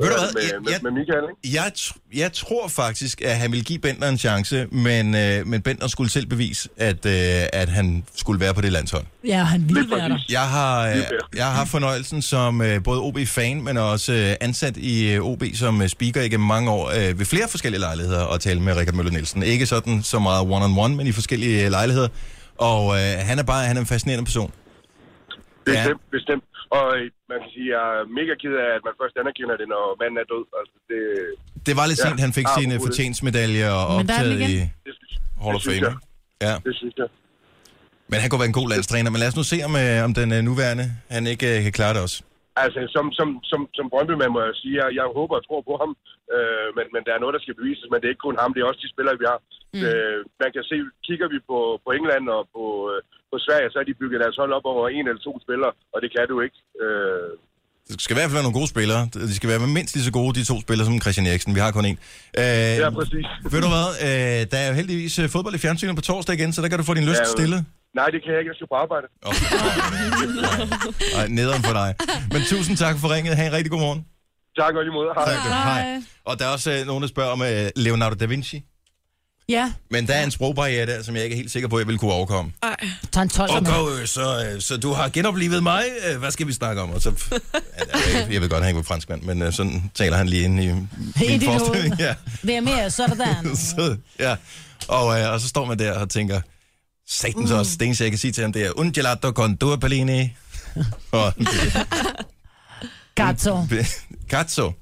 Ved du
med,
hvad?
med,
Jeg-
med,
jeg-
med Michael, ikke?
Jeg, tr- jeg tror faktisk, at han ville give Bender en chance, men, uh, men Bender skulle selv bevise, at, uh, at han skulle være på det landshold.
ja, han ville
Lige
være der.
præcis.
Jeg har, øh,
Det er fair.
jeg har haft fornøjelsen som øh, både OB-fan, men også øh, ansat i øh, OB som øh, speaker igennem mange år øh, ved flere forskellige lejligheder at tale med Richard Møller Nielsen. Ikke sådan så meget one-on-one, men i forskellige øh, lejligheder. Og øh, han er bare han er en fascinerende person.
Bestemt, ja. bestemt. Og øh, man kan sige, at jeg er mega ked af, at man først anerkender det, når manden er død. Altså, det,
Det var lidt
Ja.
sent, han fik
Ah,
sine
overhovedet.
fortjensmedaljer og
Men der er han
optaget i
igen.
det,
Hall
det
of
synes
Fame.
jeg.
Ja,
Det synes jeg.
men han kunne være en god landstræner. Men lad os nu se, om, øh, om den øh, nuværende, han ikke øh, kan klare det også.
Altså, som, som, som, som Brøndby-mand må jeg sige, jeg, jeg håber og tror på ham, øh, men, men der er noget, der skal bevises, men det er ikke kun ham, det er også de spillere, vi har. Mm. Øh, man kan se, kigger vi på, på England og på, øh, på Sverige, så har de bygget deres hold op over en eller to spillere, og det kan du ikke. Øh,
Det skal i hvert fald være nogle gode spillere. De skal være mindst lige så gode, de to spillere, som Christian Eriksen. Vi har kun én. Øh,
ja, præcis.
Ved du hvad, øh, der er jo heldigvis øh, fodbold i fjernsynet på torsdag igen, så der kan du få din lyst
Ja, jo.
stillet.
Nej, det kan jeg ikke, jeg skal på arbejde.
Oh, nej, nederen for dig. Men tusind tak for ringet. Ha' en rigtig god morgen.
Tak og lige måde. Hej.
Tak. Hej. Og der er også øh, nogen, der spørger om øh, Leonardo da Vinci.
Ja,
Men der er en sprogbarriere der, som jeg ikke er helt sikker på, jeg vil kunne overkomme.
tager en 12 med.
Okay, øh, så, øh, så du har genoplevet mig. Øh, Hvad skal vi snakke om? Og så, jeg, jeg ved godt, at han ikke var franskmand, men øh, sådan taler han lige ind i min
dit hoved.
forestilling. Ja.
Hvem mere? Sådan.
så, ja. Og, øh, og så står man der og tænker, satans mm. også, det eneste, jeg kan sige til ham, det er, un gelato con due pallini. og
Gatto.
cazzo,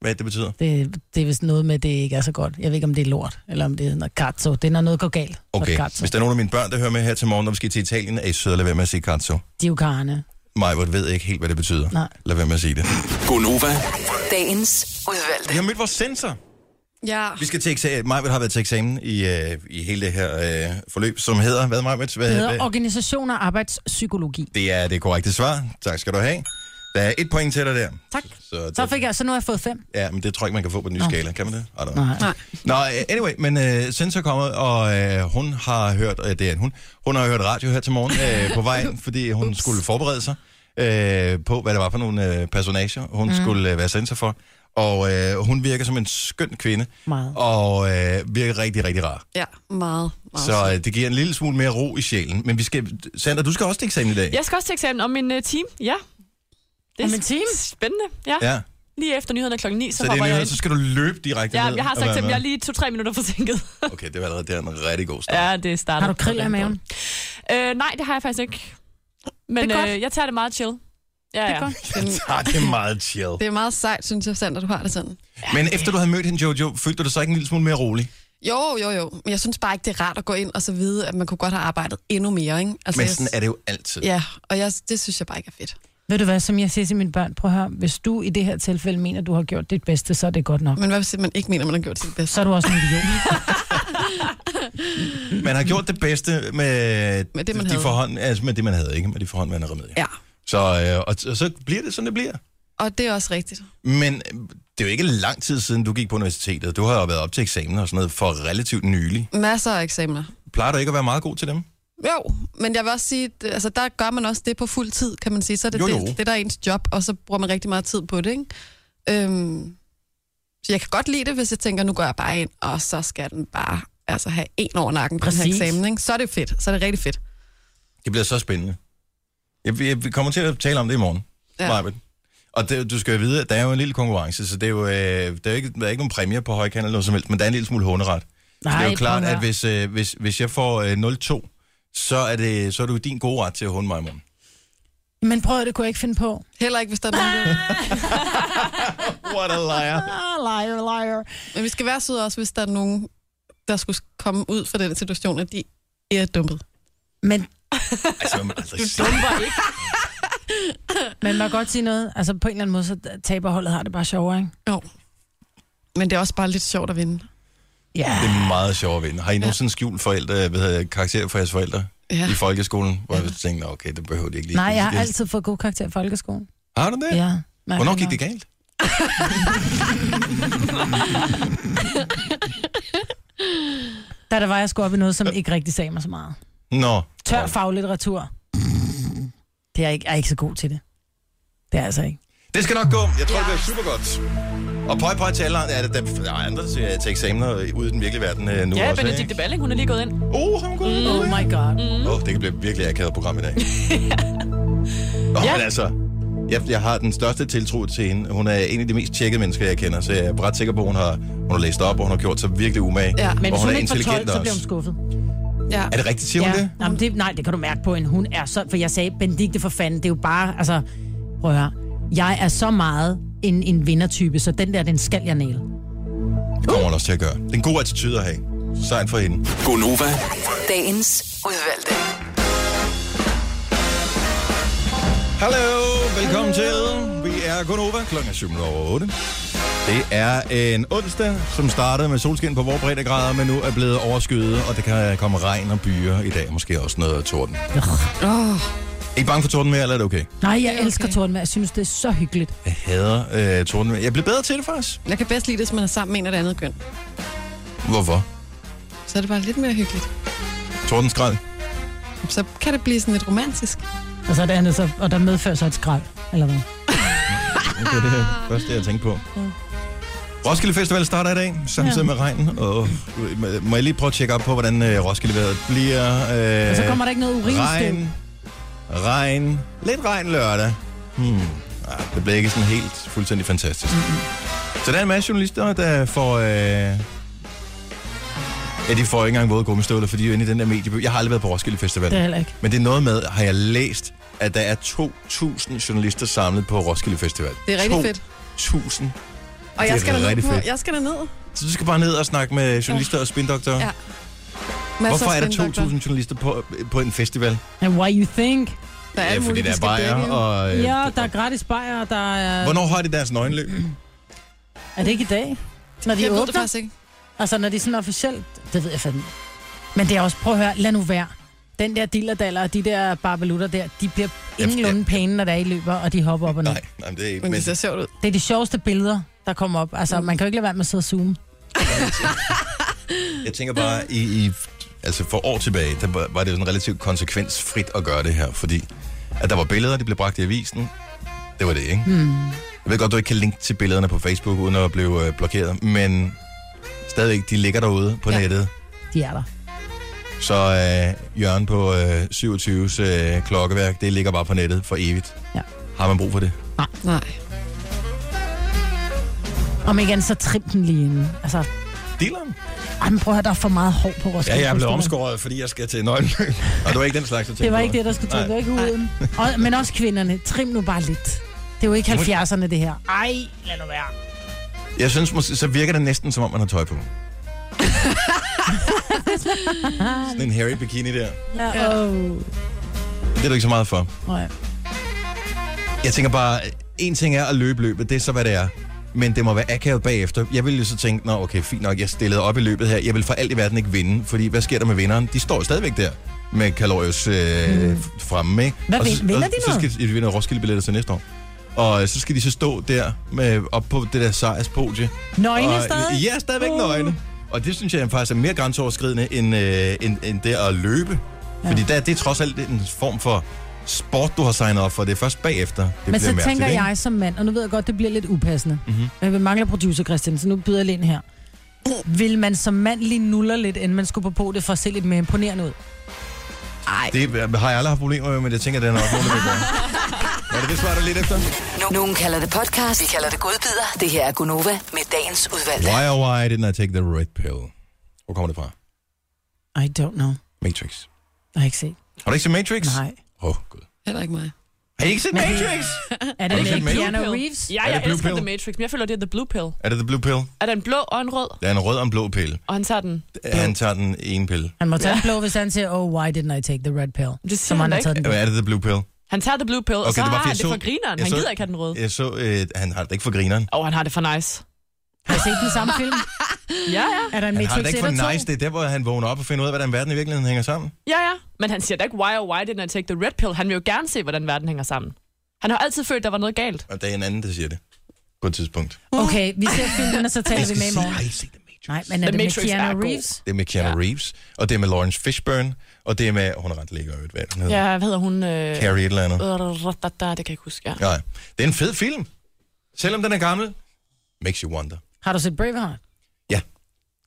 hvad det betyder.
Det, det er vist noget med, at det ikke er så godt. Jeg ved ikke, om det er lort, eller om det er noget katso. Det er, når noget går galt. for
Okay,
Katso.
hvis der er nogen af mine børn, der hører med her til morgen, når vi skal til Italien, er I søde at lade være med at sige cazzo.
De er jo karne.
Majvort ved ikke helt, hvad det betyder.
Nej.
Lad være med at sige det.
Gonova,
Dagens udvalgte.
Vi har mødt vores sensor.
Ja.
Vi skal til eksamen. Majvort har været til eksamen i, øh, i hele det her øh, forløb, som hedder, hvad Majvort? Hvad,
Det
hvad-
hedder Organisation og Arbejdspsykologi.
Det er det korrekte svar. Tak skal du have. Der er et point til dig der.
Tak.
Så,
Så, fik jeg, så nu har jeg fået fem.
Ja, men det tror jeg ikke, man kan få på den nye skala. Kan man det? I don't know.
Nej.
Nå, anyway, men uh, Sensor er kommet, og uh, hun har hørt, uh, det er en hun, hun har hørt radio her til morgen uh, på vej ind, fordi hun øh, Ups. skulle forberede sig uh, på, hvad det var for nogle uh, personager, hun mm. skulle uh, være sensor for. Og øh, hun virker som en skøn kvinde.
Meget.
Og øh, virker rigtig, rigtig rar.
Ja, meget. meget
Så øh, det giver en lille smule mere ro i sjælen. Men vi skal... Sandra, du skal også til eksamen i dag.
Jeg skal også til eksamen om en uh, time, ja. Det
Om en time?
Spændende, ja.
Ja.
Lige efter nyhederne klokken 9, så,
Så, det er
hopper
nyheder,
jeg ind.
så skal du løbe direkte
Ja,
ned
jeg har
og
sagt
være
til dem,
med.
jeg er lige to-tre minutter forsinket.
Okay, det var allerede der en rigtig god start.
ja, det starter.
Har du krill af maven?
Øh, nej, det har jeg faktisk ikke. Men
Det er godt.
øh, jeg tager det meget chill. Ja, ja.
Jeg tager det meget chill.
Det er meget sejt, synes jeg, Sander, du har det sådan.
Men efter du havde mødt hende, Jojo, følte du dig så ikke en lille smule mere rolig?
Jo, jo, jo. Men jeg synes bare ikke, det er rart at gå ind og så vide, at man kunne godt have arbejdet endnu mere, ikke? Altså,
Men
jeg-
sådan er det jo altid.
Ja, og jeg, det synes jeg bare ikke er fedt.
Ved du hvad, som jeg siger til mine børn, prøv at høre, hvis du i det her tilfælde mener, du har gjort dit bedste, så er det godt nok.
Men hvad hvis man ikke mener, man har gjort sit bedste?
Så er du også en idiot.
Man har gjort det bedste med,
Med det, man
de
havde.
forhånd, altså med det, man havde, ikke med de forhåndværende remedier.
Ja,
Så, øh, og, og så bliver det, sådan det bliver.
og det er også rigtigt.
Men øh, det er jo ikke lang tid siden, du gik på universitetet. Du har jo været op til eksamener og sådan noget for relativt nylig.
Masser af eksamener.
Plejer du ikke at være meget god til dem?
Jo, men jeg vil også sige, at, altså, der gør man også det på fuld tid, kan man sige. Så er det,
Jo,
jo,
jo.
jo. det, det der er ens job, og så bruger man rigtig meget tid på det, ikke? Øhm, så jeg kan godt lide det, hvis jeg tænker, nu går jeg bare ind, og så skal den bare altså, have en over nakken på den
Præcis.
her eksamen, ikke? Så er det fedt. Så er det rigtig fedt.
Det bliver så spændende. Jeg, jeg, vi kommer til at tale om det i morgen, ja.
Ja.
Og det, du skal jo vide, at der er jo en lille konkurrence, så det er jo, øh, der, er jo ikke, der er ikke nogen præmier på højkant eller noget som helst, men der er en lille smule hånderet. Så det er
Nej,
jo klart,
prøv at
at
høre.
hvis, øh, hvis, hvis jeg får øh, 0-2, så er, det, så er det jo din gode ret til at hunde mig i morgen.
Men prøv at høre, det kunne jeg ikke finde på.
Heller ikke, hvis der er nogen, der-
What a liar.
Ah, liar, liar.
Men vi skal være søde også, hvis der er nogen, der skulle komme ud fra den situation, at de er dumpet.
Men
Altså, man aldrig sige.
man må godt sige noget. Altså på en eller anden måde, så taberholdet har det bare sjovere, ikke?
Jo. Men det er også bare lidt sjovt at vinde.
Ja.
Det er meget sjovt at vinde. Har I nogensinde skjult forældre, hvad hedder, det, karakterer for jeres forældre
Ja.
i folkeskolen? Hvor jeg tænkte, "Nå, okay, det behøver de ikke lige.
Nej, jeg har
Det-
altid fået god karakter i folkeskolen.
Har du det?
Ja. Men
Hvornår gik det galt?
Da der var, jeg skulle op i noget, som ikke rigtig sagde mig så meget.
Nå,
Tør faglitteratur. Det er jeg ikke, jeg er ikke så god til det. Det er jeg altså ikke.
det skal nok gå. Jeg tror, det bliver super godt. Og pøj, pøj til alle andre. Ja, der, der er andre til, til eksamener ude i den virkelige verden øh, nu
Ja,
også.
Benedikte Balling, hun er lige gået ind.
Oh, hun går mm.
Oh my god.
Åh, oh, det kan blive virkelig akavet program i dag. Nå, ja. men altså, jeg, jeg har den største tiltro til hende. Hun er en af de mest tjekkede mennesker, jeg kender, så jeg er ret sikker på, at hun har, hun har læst op, og hun har gjort sig virkelig umage.
Ja.
Men
Ah, og
hvis
hun
hun
er
ikke får 12,
intelligent
så bliver hun
også.
skuffet.
Ja.
Er det rigtigt, siger hun det?
Jamen, det, nej, det kan du mærke på hende. Hun er så... For jeg sagde, Benedikte for fanden, det er jo bare... Altså, prøv at høre. Jeg er så meget en, en vindertype, så den der, den skal jeg næle.
Det kommer hun også til at gøre. Det er en god attitude at have. Sejt for hende.
Gonova,
Dagens udvalgte.
Hallo, velkommen til. Vi er Gunova, klokken er 7 over 8. Det er en onsdag, som startede med solskin på vores breddegrader, men nu er blevet overskyet, og det kan komme regn og byer i dag, måske også noget torden.
Oh,
Er I bange for torden mere, eller er det okay?
Nej, jeg
Det er
elsker
okay.
torden, jeg synes, det er så hyggeligt.
Jeg hader øh, tordenvejr. Jeg blev bedre til det faktisk.
jeg kan bedst lide det, hvis man er sammen med en af det andet køn.
Hvorfor?
Så er det bare lidt mere hyggeligt.
Tordenskrald.
Så kan det blive sådan lidt romantisk.
Og så er det andet, så, og der medfører så et skrald, eller hvad?
Det var det første, jeg tænkte på. Mm. Roskilde Festival starter i dag, samtidig med regnen. Og må jeg lige prøve at tjekke op på, hvordan øh, Roskilde-vejret bliver? Øh,
Og så kommer der ikke noget urinstøv.
regn, regn, lidt regn lørdag. Hmm. Ah, det bliver ikke sådan helt fuldstændig fantastisk. Så der er en masse journalister, der får... Øh, Ja, de får ikke engang våde gummistøvler, fordi de er jo inde i den der medieby. Jeg har aldrig været på Roskilde Festival.
Det er heller ikke.
Men det er noget med, har jeg læst, at der er 2.000 journalister samlet på Roskilde Festival.
Det er rigtig fedt.
2.000.
Og
Det er
jeg skal, derned
rigtig
på,
fedt.
jeg skal derned.
Så du skal bare ned og snakke med journalister og spindoktorer.
Ja.
Ja,
Masser
Hvorfor
af
er der
spindoktor.
2.000 journalister på, på en festival?
And why you think?
Der er alt
fordi
muligt,
der
de
er
skal
bajer
dække.
og... øh,
Ja, der er gratis bajer, og der er...
Hvornår har de deres nøgenløb?
Mm.
Er det ikke i dag? Når de
jeg ved det
åbner?
faktisk ikke.
Altså, når de sådan officielt... Det ved jeg fandme. Men det er også... Prøv at høre, lad nu være. Den der dillerdaller og de der barbelutter der, de bliver ingenlunde pæne, når der er i løber, og de hopper op og ned.
Nej, nej, men det er ikke...
Men
Men,
det ser sjovt ud.
Det er de sjoveste billeder, der kommer op. Altså, man kan jo ikke lade være med at sidde og zoome.
jeg tænker bare, i, i, altså for år tilbage, der var var det jo sådan relativt
Hmm.
konsekvensfrit at gøre det her, fordi at der var billeder, de blev bragt i avisen. Det var det, ikke? Mm. Jeg ved godt, du ikke kan linke til billederne på Facebook, uden at blive øh, blokeret, men stadigvæk, de ligger derude på ja. nettet.
De er der.
Så øh, Jørgen på øh, 27's øh, klokkeværk, det ligger bare på nettet for evigt.
Ja.
Har man brug for det?
Nej.
Nej.
Om ikke andet, så trim den lige inden. Altså,
Dealeren?
ej, men prøv at høre, der er for meget hår på Roskilde.
Ja, jeg er blevet
Festival.
omskåret, fordi jeg skal til Nøgenløb. Og det var ikke den slags, jeg tænkte
Det var
på.
ikke det, der skulle til.
Nej.
Det var ikke huden. Og, men også kvinderne. Trim nu bare lidt. Det er jo ikke
Nu må-
70'erne, det her. Ej, lad nu være.
Jeg synes måske, så virker det næsten, som om man har tøj på. Sådan en hairy bikini der.
Ja, oh.
Det er du ikke så meget for.
Nej.
Jeg tænker bare, en ting er at løbe løbet, det er så, hvad det er. Men det må være akavet bagefter. Jeg ville jo så tænke, nå okay, fint nok, jeg stillede op i løbet her. Jeg vil for alt i verden ikke vinde, fordi hvad sker der med vinderen? De står stadigvæk der med kalorius øh, mm. fremme, ikke?
Hmm. Hvad
Og så-
vin- vinder
og
de
Så
noget?
skal de vinde Roskilde-billetter til næste år. Og øh, så skal de så stå der med, op på det der sejrspodie.
Nøgne
og, øh,
stadig?
Ja, stadigvæk uh. nøgne. Og det synes jeg faktisk er mere grænseoverskridende, end, øh, end, end det at løbe. Ja. Fordi der, det er trods alt en form for sport, du har signet op for. Det er først bagefter, det
Men så
bliver mærkeligt,
tænker
ikke?
jeg som mand, og nu ved jeg godt, det bliver lidt upassende.
Mhm.
Men vi mangler producer Christian, så nu byder jeg lige ind her. Vil man som mand lige nuller lidt, inden man skulle på det for at se lidt mere imponerende ud?
Det har jeg aldrig haft problemer med, men jeg tænker, den er nok nogen, der vil gøre. Var det det svar, der lidt efter?
Nu- Nogen kalder det podcast, vi kalder det godbider. Det her er Gunova med dagens udvalgte.
Why or why didn't I take the red pill? Hvor kommer det fra?
I don't know.
Matrix.
Jeg har ikke set.
Har du ikke set Matrix?
Nej.
Åh, oh, gud.
Heller ikke mig.
Har I ikke set
Men-
Matrix?
Er
Har
det
du set
med
Matrix?
Keanu Reeves?
Ja,
Er det
jeg
blue
elsker
pill?
The Matrix, men jeg føler, det er The Blue Pill.
Er det the blue pill?
Er der en blå og en rød?
Der er en rød og en blå pille.
Og han tager den.
Han tager den ene pille.
Han må tage en blå, hvis han siger, oh, why didn't I take the red pill?
Det siger
Som han
han
har
da
taget den
Hvad er det the blue pill?
Han tager The Blue Pill, okay, og så
det var, fordi
har han
jeg
det
så-
for grineren.
jeg
Han
så-
gider ikke have den røde.
Jeg så, øh, han har det ikke for grineren.
Og han har det for nice.
Har I set den samme film?
Ja, ja.
Er der en
Han
Matrix
har det ikke for
1 og 2?
nice. Det er der, hvor han vågner op og finder ud af, hvordan verden i virkeligheden hænger sammen.
Ja, ja. Men han siger da ikke, why or why didn't I take the red pill? Han vil jo gerne se, hvordan verden hænger sammen. Han har altid følt, der var noget galt.
Og der er en anden, der siger det. På et tidspunkt.
Okay, vi ser filmen, og så taler vi med i
sige, har
morgen.
I set The Matrix?
Nej, men er
The
det med
Matrix er
Keanu
god.
Reeves?
Det er med Keanu ja. Reeves, og det er med Lawrence Fishburne, og det er med, hun er ret lækker, ved hvad hun hedder.
Ja, hvad hedder hun? Øh...
Carrie et eller andet.
Ratatata, Det kan jeg ikke huske, ja.
Nej, det er en fed film. Selvom den er gammel, makes you wonder.
Har du set Braveheart?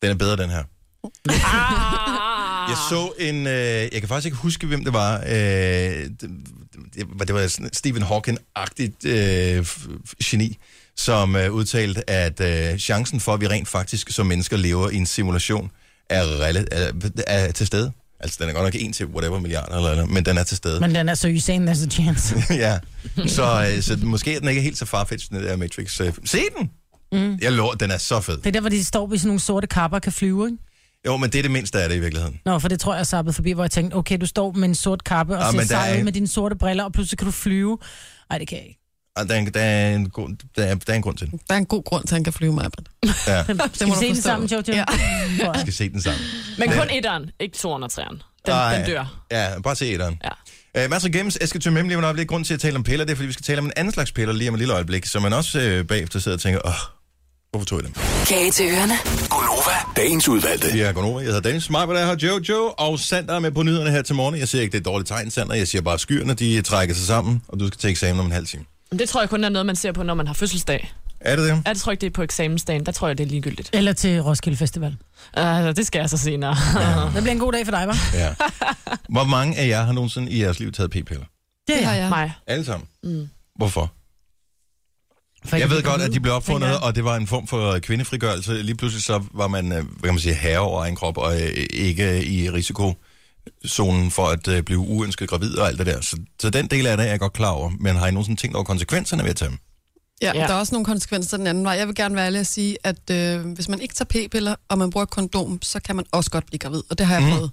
Den er bedre, den her. Jeg så en, øh, jeg kan faktisk ikke huske, hvem det var. Øh, det, det, det var sådan Stephen Hawking-agtigt øh, f- f- geni, som øh, udtalte, at øh, chancen for, at vi rent faktisk som mennesker lever i en simulation, er, rela- er, er til stede. Altså, den er godt nok en til whatever milliarder, eller, eller, men den er til stede.
Men den er så so you're saying there's a chance.
ja. Så, øh, så måske er den ikke helt så farfetched, den der Matrix. Øh, Se den! Mm. Jeg lover, den er så fed.
Det er der, hvor de står ved sådan nogle sorte kapper og kan flyve, ikke?
Jo, men det er det mindste af det i virkeligheden.
Nå, for det tror jeg er zappet forbi, hvor jeg tænkte, okay, du står med en sort kappe og
Ah,
ja, ser
men der
sej
er-
ud med dine sorte briller, og pludselig kan du flyve. Nej, det kan jeg ikke.
Og Ah, der, er en- der, er en grund, der, er, der er en grund til den.
Der er en god grund til, at han kan flyve mig, Britt.
Ja,
Det
Skal
må
vi
du
se den
forstå.
sammen, Jojo?
Ja.
Tror jeg.
skal se den sammen.
Men kun etteren, ikke toeren og treeren. Den,
Ej.
den dør.
Ja, bare se etteren.
Ja.
Uh, masser af games. Jeg skal tømme lige om et øjeblik. Grunden til at tale om piller, det er, fordi vi skal tale om en anden slags piller lige om et lille øjeblik, så man også øh, bagefter sidder og tænker, åh, hvorfor tog jeg dem?
Kage til ørerne.
Gonova, dagens udvalgte.
Vi er gået over. Jeg hedder Dennis Smeiber, der er her Jojo, og Sander er med på nyhederne her til morgen. Jeg siger ikke, det er et dårligt tegn, Sander. Jeg siger bare, at skyerne de trækker sig sammen, og du skal til eksamen om en halv time.
Men Det tror jeg kun er noget, man ser på, når man har fødselsdag.
Er det det?
Ja, det tror jeg ikke, det er på eksamensdagen. Der tror jeg, det er ligegyldigt.
Eller til Roskilde Festival.
Uh, det skal jeg så senere.
Det bliver en god dag for dig, var?
Ja. Hvor mange af jer har nogensinde i jeres liv taget p-piller?
Det
Det har jeg.
Nej.
Alle sammen.
Mm.
Hvorfor? Jeg ved godt, at de blev opfundet, og det var en form for kvindefrigørelse. Lige pludselig så var man, øh, hvad kan man sige, herre over egen krop, og øh, ikke i risikozonen for at øh, blive uønsket gravid og alt det der. Så, så den del af det er jeg godt klar over. Men har I nogensinde tænkt over konsekvenserne ved at tage dem?
Ja,
Ja.
ja, der er også nogle konsekvenser den anden vej. Jeg vil gerne være ærlig og sige, at øh, hvis man ikke tager p-piller, og man bruger kondom, så kan man også godt blive gravid, og det har jeg
Mm.
mm. prøvet.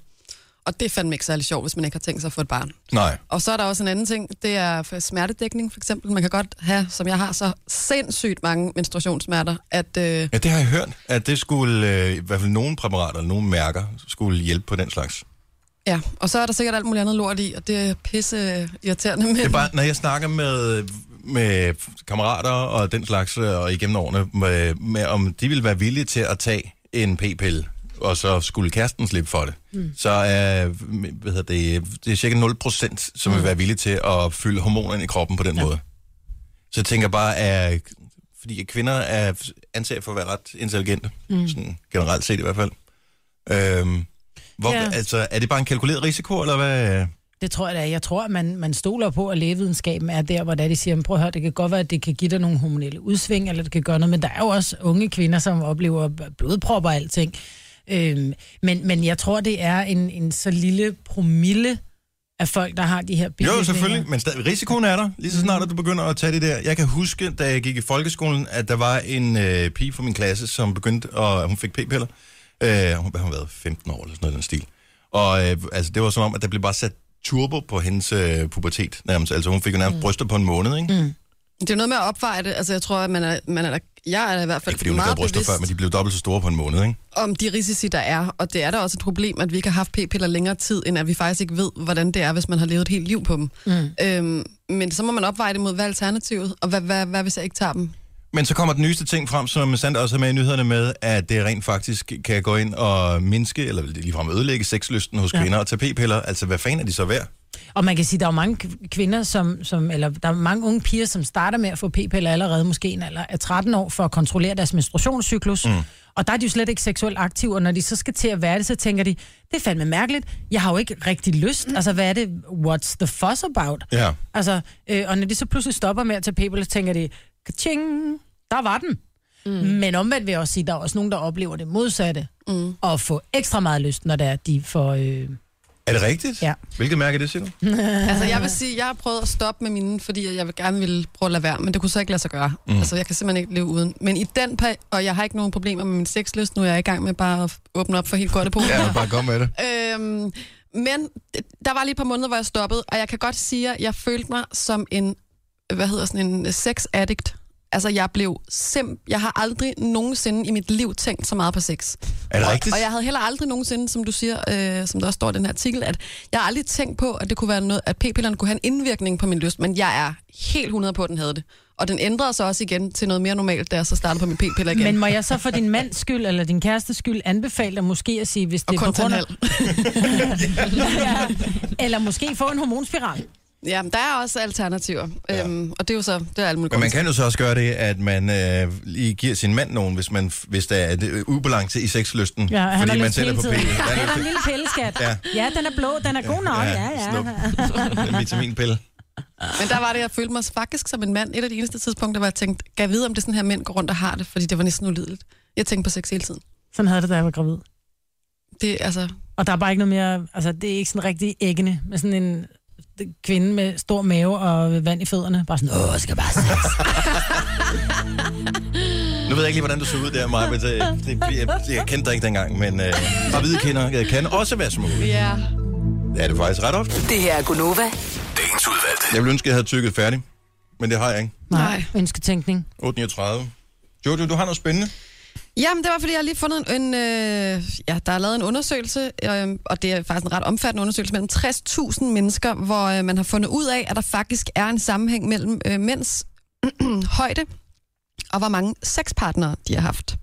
Og det er fandme ikke særlig sjovt, hvis man ikke har tænkt sig at få et barn.
Nej.
Og så er der også en anden ting, det er for smertedækning for eksempel. Man kan godt have, som jeg har, så sindssygt mange menstruationssmerter, at øh,
Ja, det har jeg hørt, at det skulle, øh, i hvert fald nogle præparater, nogle mærker, skulle hjælpe på den slags.
ja, og så er der sikkert alt muligt andet lort i, og det er pisse øh, irriterende. Men...
Det er bare, når jeg snakker med, med kammerater og den slags, øh, og igennem årene, med, med, om de ville være villige til at tage en p-pille, og så skulle kæresten slippe for det, mm. så er hvad hedder det, det er cirka 0%, som mm. vil være villige til at fylde hormonerne i kroppen på den ja. måde. Så jeg tænker bare, at fordi kvinder er anset for at være ret intelligente, mm.
Mm.
sådan generelt set i hvert fald. Øhm, hvor, ja.
Ja.
altså, er det bare en kalkuleret risiko, eller hvad?
Det tror jeg da. Jeg tror, at man, man stoler på, at lægevidenskaben er der, hvor det er, de siger, "Men prøv at høre, det kan godt være, at det kan give dig nogle hormonelle udsving, eller det kan gøre noget, men der er jo også unge kvinder, som oplever blodpropper og alting. Øhm, men, men jeg tror, det er en, en så lille promille af folk, der har de her
Jo,
bivirkninger.
selvfølgelig, men stadig, risikoen er der, lige så snart at du begynder at tage det der. Jeg kan huske, da jeg gik i folkeskolen, at der var en øh, pige fra min klasse, som begyndte, og hun fik p-piller. Øh, hun, hvad har hun været 15 år eller sådan noget i den stil. Og øh, altså, det var som om, at der blev bare sat turbo på hendes øh, pubertet nærmest. Altså hun fik jo nærmest mm. bryster på en måned, ikke? Mm.
Det er jo noget med at opveje det. Altså, jeg tror, at man er, man er, jeg er i hvert fald
Fordi hun ikke havde
meget
bryster
bevidst
før, men de blev dobbelt så store på en måned, ikke?
om de risici, der er. Og det er da også et problem, at vi ikke har haft p-piller længere tid, end at vi faktisk ikke ved, hvordan det er, hvis man har levet et helt liv på dem. Mm. Øhm, men så må man opveje det mod, hvad er alternativet, og hvad, hvad, hvad hvis jeg ikke tager dem?
Men så kommer den nyeste ting frem, som Sandra også har med i nyhederne med, at det rent faktisk kan gå ind og mindske, eller ligefrem ødelægge sexlysten hos
Ja.
kvinder og tage p-piller. Altså, hvad fanden er de så værd?
Og man kan sige, der er jo mange kv- kvinder, som, som, eller der er mange unge piger, som starter med at få p-piller allerede måske en alder af 13 år, for at kontrollere deres menstruationscyklus. Mm. Og der er de jo slet ikke seksuelt aktive, og når de så skal til at være det, så tænker de, det er fandme mærkeligt, jeg har jo ikke rigtig lyst. Altså, hvad er det, what's the fuss about?
Ja.
Altså, øh, og når de så pludselig stopper med at tage p-piller, så tænker de, kaching, der var den. Mm. Men omvendt vil jeg også sige, der er også nogen, der oplever det modsatte, mm. og får ekstra meget lyst, når det er, de får... Øh,
Er det rigtigt?
Ja.
Hvilket mærke er det, siger du?
Altså, jeg vil sige, jeg har prøvet at stoppe med mine, fordi jeg vil gerne ville prøve at lade være, men det kunne så ikke lade sig gøre.
Mm.
Mm. Altså, jeg kan simpelthen ikke leve uden. Men i den periode, og jeg har ikke nogen problemer med min sexlyst, nu er jeg i gang med bare at åbne op for helt godt på.
Ja, bare kom med det.
Øhm, men d- der var lige et par måneder, hvor jeg stoppede, og jeg kan godt sige, at jeg følte mig som en, hvad hedder sådan en øh, sex addict. Altså, jeg blev sim... Jeg har aldrig nogensinde i mit liv tænkt så meget på sex.
Er det
og,
rigtigt?
Og jeg havde heller aldrig nogensinde, som du siger, øh, som der også står i den her artikel, at jeg har aldrig tænkt på, at det kunne være noget, at p-pillerne kunne have en indvirkning på min lyst, men jeg er helt 100 på, at den havde det. Og den ændrede sig også igen til noget mere normalt, da jeg så startede på min p-piller igen.
Men må jeg så for din mands skyld, eller din kærestes skyld, anbefale dig måske at sige, hvis
og
det
kun
er på
til en
grund af...
halv.
ja. Eller måske få en hormonspiral.
Ja, men der er også alternativer. Ja. Øhm, og det er jo så, det er alt muligt
Men man
godt.
kan jo så også gøre det, at man øh, lige giver sin mand nogen, hvis, man, f- hvis der er et, øh, ubalance i sexlysten.
Ja, han
fordi
har
man
lyst
selv er
hele
på
tiden.
p-piller. Der
Han
er
har en
lyst
lille pilleskat.
Ja.
Ja. ja, den er blå, den er god nok.
Ja,
Ja, ja.
snup. til en vitaminpille.
Men der var det, jeg følte mig faktisk som en mand. Et af de eneste tidspunkter, hvor jeg tænkte, kan jeg vide, om det er sådan her, mænd går rundt og har det? Fordi det var næsten ulideligt. Jeg tænkte på sex hele tiden.
Sådan havde det, da jeg var gravid.
Det, altså,
Og der er bare ikke noget mere... Altså, det er ikke sådan rigtig æggende, med sådan en kvinde med stor mave og vand i fødderne. Bare sådan, åh, jeg skal bare se.
Nu ved jeg ikke lige, hvordan du så ud der, Maja, men det, det, jeg, jeg kendte dig ikke dengang, men øh, gravide kvinder øh, kan også være små.
ja.
Det er det faktisk ret ofte.
Det her er Gunova.
Dagens udvalgte.
Jeg ville ønske, jeg havde tykket færdig, men det har jeg ikke.
Nej.
Ønsketænkning.
8.39. Jojo, du har noget spændende.
Jamen, det var, fordi jeg har lige fundet en... en øh, ja, der er lavet en undersøgelse, øh, og det er faktisk en ret omfattende undersøgelse, mellem 60.000 mennesker, hvor øh, man har fundet ud af, at der faktisk er en sammenhæng mellem øh, mænds højde og hvor mange sexpartnere de har haft.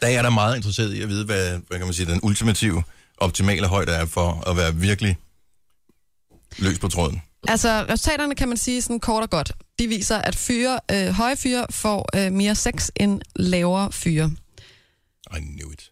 Der er jeg da meget interesseret i at vide, hvad, hvad kan man sige, den ultimative, optimale højde er for at være virkelig løs på tråden.
Altså, resultaterne kan man sige sådan kort og godt. De viser, at fyre, øh, høje fyre får øh, mere sex end lavere fyre. Øhm,
I knew it.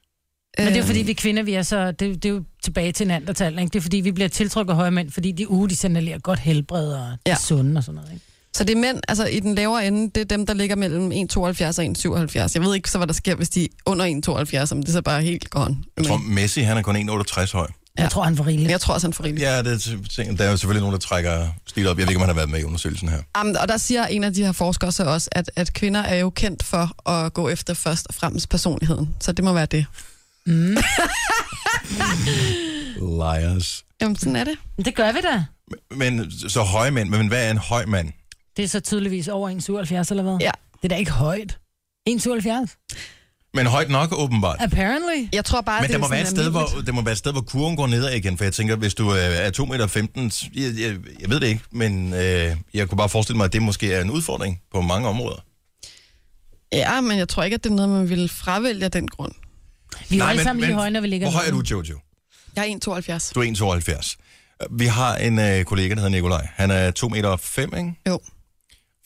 Øh.
Men det er jo fordi, vi kvinder, vi er så... Det, det er jo tilbage til en anden tal, ikke? Det er fordi, vi bliver tiltrykket af høje mænd, fordi de uge, de signalerer godt helbred og de
Ja.
ja. sunde og sådan noget, ikke?
Så det er mænd, altså i den lavere ende, det er dem, der ligger mellem 1,72 og 1,77. Jeg ved ikke så, hvad der sker, hvis de er under 1,72, om det så bare er helt gone.
Jeg tror,
Men
Messi, han er kun 1,68 høj.
Ja. Jeg tror, han var rigeligt.
jeg tror også, han får rigeligt.
Ja, det tænker, der er jo selvfølgelig nogen, der trækker stil op. Jeg ved ikke, om han har været med i undersøgelsen her.
Jamen, og der siger en af de her forskere så også, at, at kvinder er jo kendt for at gå efter først og fremmest personligheden. Så det må være det.
Liars.
Jamen, sådan er det.
Men det gør vi da.
Men så høje mænd, men hvad er en høj mand?
Det er så tydeligvis over 1,77 eller hvad?
Ja.
Det er da ikke højt. 1,77?
Men højt nok, åbenbart.
Apparently.
Jeg tror bare,
Men
det
der
er
må,
sådan
være et sted, hvor,
almindeligt.
der må være et sted, hvor kurven går nedad igen, for jeg tænker, hvis du øh, er 2,15 meter, 15, jeg, jeg, jeg ved det ikke, men øh, jeg kunne bare forestille mig, at det måske er en udfordring på mange områder.
Ja, men jeg tror ikke, at det er noget, man ville fravælge af den grund.
Vi er jo alle sammen lige høje, når vi ligger
Hvor høj er du,
nede.
Jojo?
Jeg er 1,72.
Du er 1,72. Vi har en øh, kollega, der hedder Nikolaj. Han er 2,5 meter, ikke?
Jo.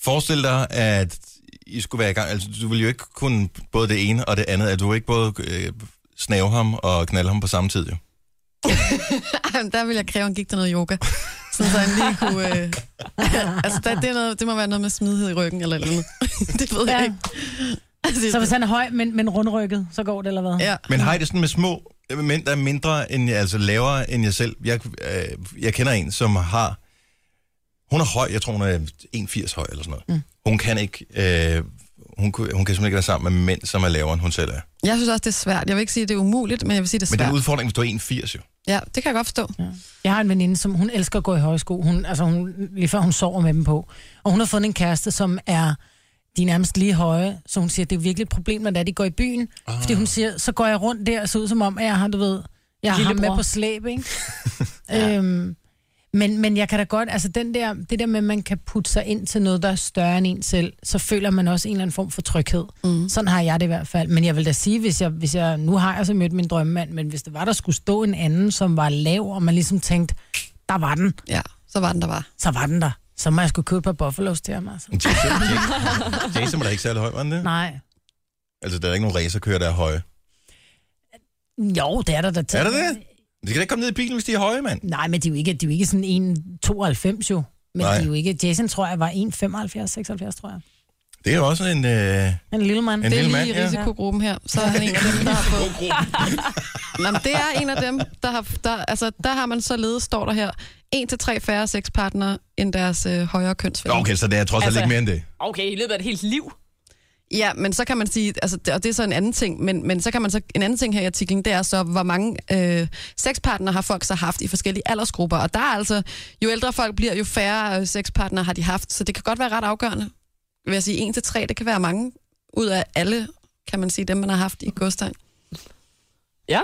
Forestil dig, at I skulle være i gang. Altså, du ville jo ikke kunne både det ene og det andet. Altså, du ville ikke både øh, snave ham og knalde ham på samme tid, jo.
Ej, men der vil jeg kræve, at han gik til noget yoga. Sådan, så han lige kunne... Øh... altså, der, det, er noget, det må være noget med smidighed i ryggen eller et eller andet. det ved jeg
Ja.
ikke. Altså,
Så hvis han er høj, men, men rundrykket, så går det eller hvad?
Ja.
Men har I det sådan med små øh, mænd, der er mindre end, altså lavere end jeg selv? Jeg, øh, jeg kender en, som har... Hun er høj, jeg tror hun er 1,80 høj eller sådan noget. Mm. Hun kan ikke... Øh, hun, kunne- hun kan simpelthen ikke være sammen med mænd, som er lavere end hun selv er.
Jeg synes også, det er svært. Jeg vil ikke sige, at det er umuligt, men jeg vil sige, det er
Men det er
svært.
en udfordring, hvis du er 1,80 jo.
Ja, det kan jeg godt forstå. Ja.
Jeg har en veninde, som hun elsker at gå i høje sko. Hun, altså hun, lige før hun sover med dem på. Og hun har fundet en kæreste, som er de er nærmest lige høje, så hun siger, det er virkelig et problem, når det er, de går i byen. Ah. Fordi hun siger, så går jeg rundt der og ser ud som om, at jeg har, du ved, jeg har ham med
Lillebror.
på slæb, ikke? ja. øhm, men, men jeg kan da godt, altså den der, det der med, at man kan putte sig ind til noget, der er større end en selv, så føler man også en eller anden form for tryghed. Mm. Sådan har jeg det i hvert fald. Men jeg vil da sige, hvis jeg, hvis jeg nu har jeg så mødt min drømmemand, men hvis det var, der skulle stå en anden, som var lav, og man ligesom tænkte, der var den,
ja, så var den der var.
så var den der. Så må jeg skulle købe et par buffalos til ham, altså.
Jason, Jason- Jason var da ikke særlig høj, var han det?
Nej.
Altså, der er ikke nogen racerkører, der er høje.
Jo, det er der da til.
Er der det? De kan da ikke komme ned i bilen, hvis de er høje, mand.
Nej, men de er jo ikke, de er jo ikke sådan en 92 jo. Men
Nej.
Nej. de er jo ikke. Jason tror jeg var 1,75, 76 tror jeg.
Det er jo også en... Øh...
En lille mand.
En
Det
lille
er lige
mand,
i
ja.
risikogruppen her. Så er han en af dem, der har fået... Nå, men det er en af dem, der har, der, altså, der har man således, står der her, en til tre færre sexpartnere end deres øh, højere kønsfælde.
Okay, så det er trods alt
Altså-
ikke mere end det.
Okay, i løbet af et helt liv.
Ja, men så kan man sige, altså, det- og det er så en anden ting, men, men så kan man så, en anden ting her i artiklen, det er så, hvor mange øh, sexpartnere har folk så haft i forskellige aldersgrupper, og der er altså, jo ældre folk bliver, jo færre øh, sexpartnere har de haft, så det kan godt være ret afgørende. Vil jeg sige, en til tre, det kan være mange ud af alle, kan man sige, dem man har haft i Godstein.
Ja.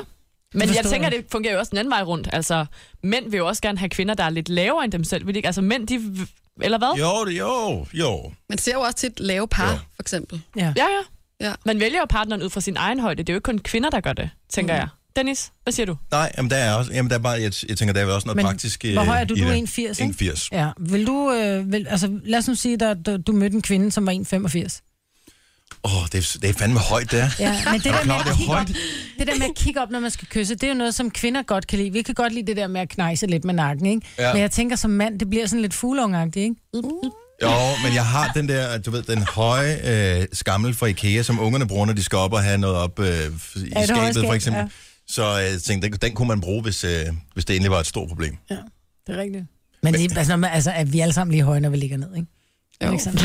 Men jeg
forstår
tænker,
jeg.
det fungerer jo også den anden vej rundt. Altså, mænd vil jo også gerne have kvinder, der er lidt lavere end dem selv. Vil de ikke? Altså, mænd, de... v- Eller hvad?
Jo, det, jo, jo.
Man ser jo også til et lave par,
Ja.
ja. for eksempel.
Ja, ja.
Ja.
Man vælger jo partneren ud fra sin egen højde. Det er jo ikke kun kvinder, der gør det, tænker mm. jeg. Dennis, hvad siger du?
Nej, jamen der er også, jamen der er bare, jeg, jeg tænker, der er vel også noget
Men
praktisk
Hvor høj er du?
i
Du er
det.
1,80, ikke?
1,80.
Ja, vil du, øh, vil, altså lad os nu sige, at du, du mødte en kvinde, som var 1,85.
Åh, oh, det, er- det er fandme højt, det er.
Ja, men det
Er
der,
du
med
klar, det
at
er
kigge op,
højt?
det der med at kigge op, når man skal kysse, det er jo noget, som kvinder godt kan lide. Vi kan godt lide det der med at knejse lidt med nakken, ikke?
Ja.
Ja. Men jeg tænker som mand, det bliver sådan lidt fugleungagtigt, ikke?
Jo, men jeg har den der, du ved, den høje øh, skammel fra Ikea, som ungerne bruger, når de skal op og have noget op øh, i skabet,
høje skab,
for eksempel.
ja.
Så øh, jeg tænkte, den, den kunne man bruge, hvis, øh, hvis det endelig var et stort problem.
Det er rigtigt. Men det, er- altså, når man, altså, at vi alle sammen lige høje, når vi ligger ned, ikke?
Jo.
Alexander?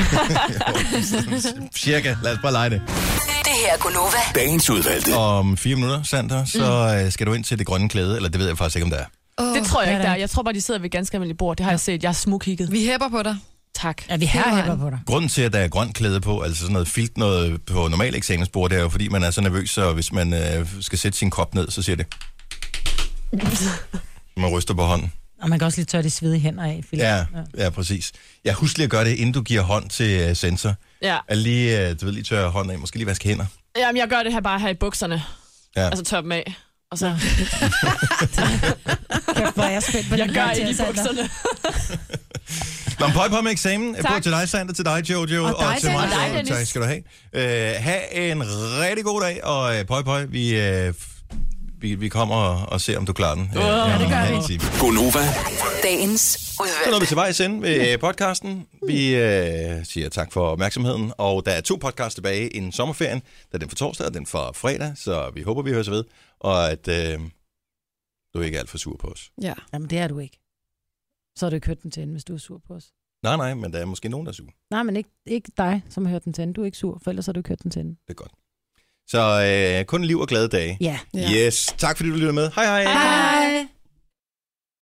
Cirka, lad os bare lege det.
Det her er Gunova.
Dagens udvalgte.
Om fire minutter, Sander, så
Mm.
øh, skal du ind til det grønne klæde, eller det ved jeg faktisk ikke, om der er.
Oh,
Det tror jeg
ja,
ikke,
da.
der er. Jeg tror bare, de sidder ved et ganske almindeligt bord. Det har jeg set. Jeg er smukigget.
Vi hæpper på dig.
Tak.
Ja, vi har
Hele
hæpper
vejen.
på dig.
Grunden til, at der er grønt klæde på, altså sådan noget filt noget på normal eksamensbord, det er jo, fordi man er så nervøs, så hvis man øh, skal sætte sin krop ned, så siger det. Man ryster på hånden.
Og man kan også lige tørre de svedige hænder af. Philip.
Ja, ja, præcis. Jeg husker lige at gøre det, inden du giver hånd til øh, sensor.
Ja.
At lige, øh, du ved, lige tørre hånden af, måske lige vaske hænder.
Jamen, jeg gør det her bare her i bukserne.
Ja.
Ja. Altså tør dem af. Og så,
Kæft, hvor er jeg spændt på
jeg
den
gør
karakter,
ikke i
Sander.
bukserne.
Nå, men pøj på med eksamen. Tak.
Tak.
Både til dig, Sander, til dig, Jojo, og,
Og dig,
til mig.
Dennis.
Og dig, Dennis.
Tak skal du have. Øh, ha' en rigtig god dag, og øh, pøj pøj, vi, øh, f- vi, vi kommer og, og ser, om du klarer den. Øh, ja, det gør vi.
Gonova.
Dagens
Så
udvalgte.
nåede vi til vejs ende med øh, podcasten. Vi øh, siger tak for opmærksomheden, og der er to podcasts tilbage inden sommerferien. Der er den for torsdag og den for fredag, så vi håber, vi høres ved, og at øh, du ikke er alt for sur på os.
Ja.
Jamen, det er du ikke. Så har du ikke hørt den til ende, hvis du er sur på os.
Nej, nej, men der er måske nogen, der er sur.
Nej, men ikke, ikke dig, som har hørt den til ende. Du er ikke sur, for ellers har du ikke hørt den til ende.
Det er godt. Så øh, kun liv og glade dage.
Ja.
Yes, tak fordi du lyttede med. Hej hej.
Hej.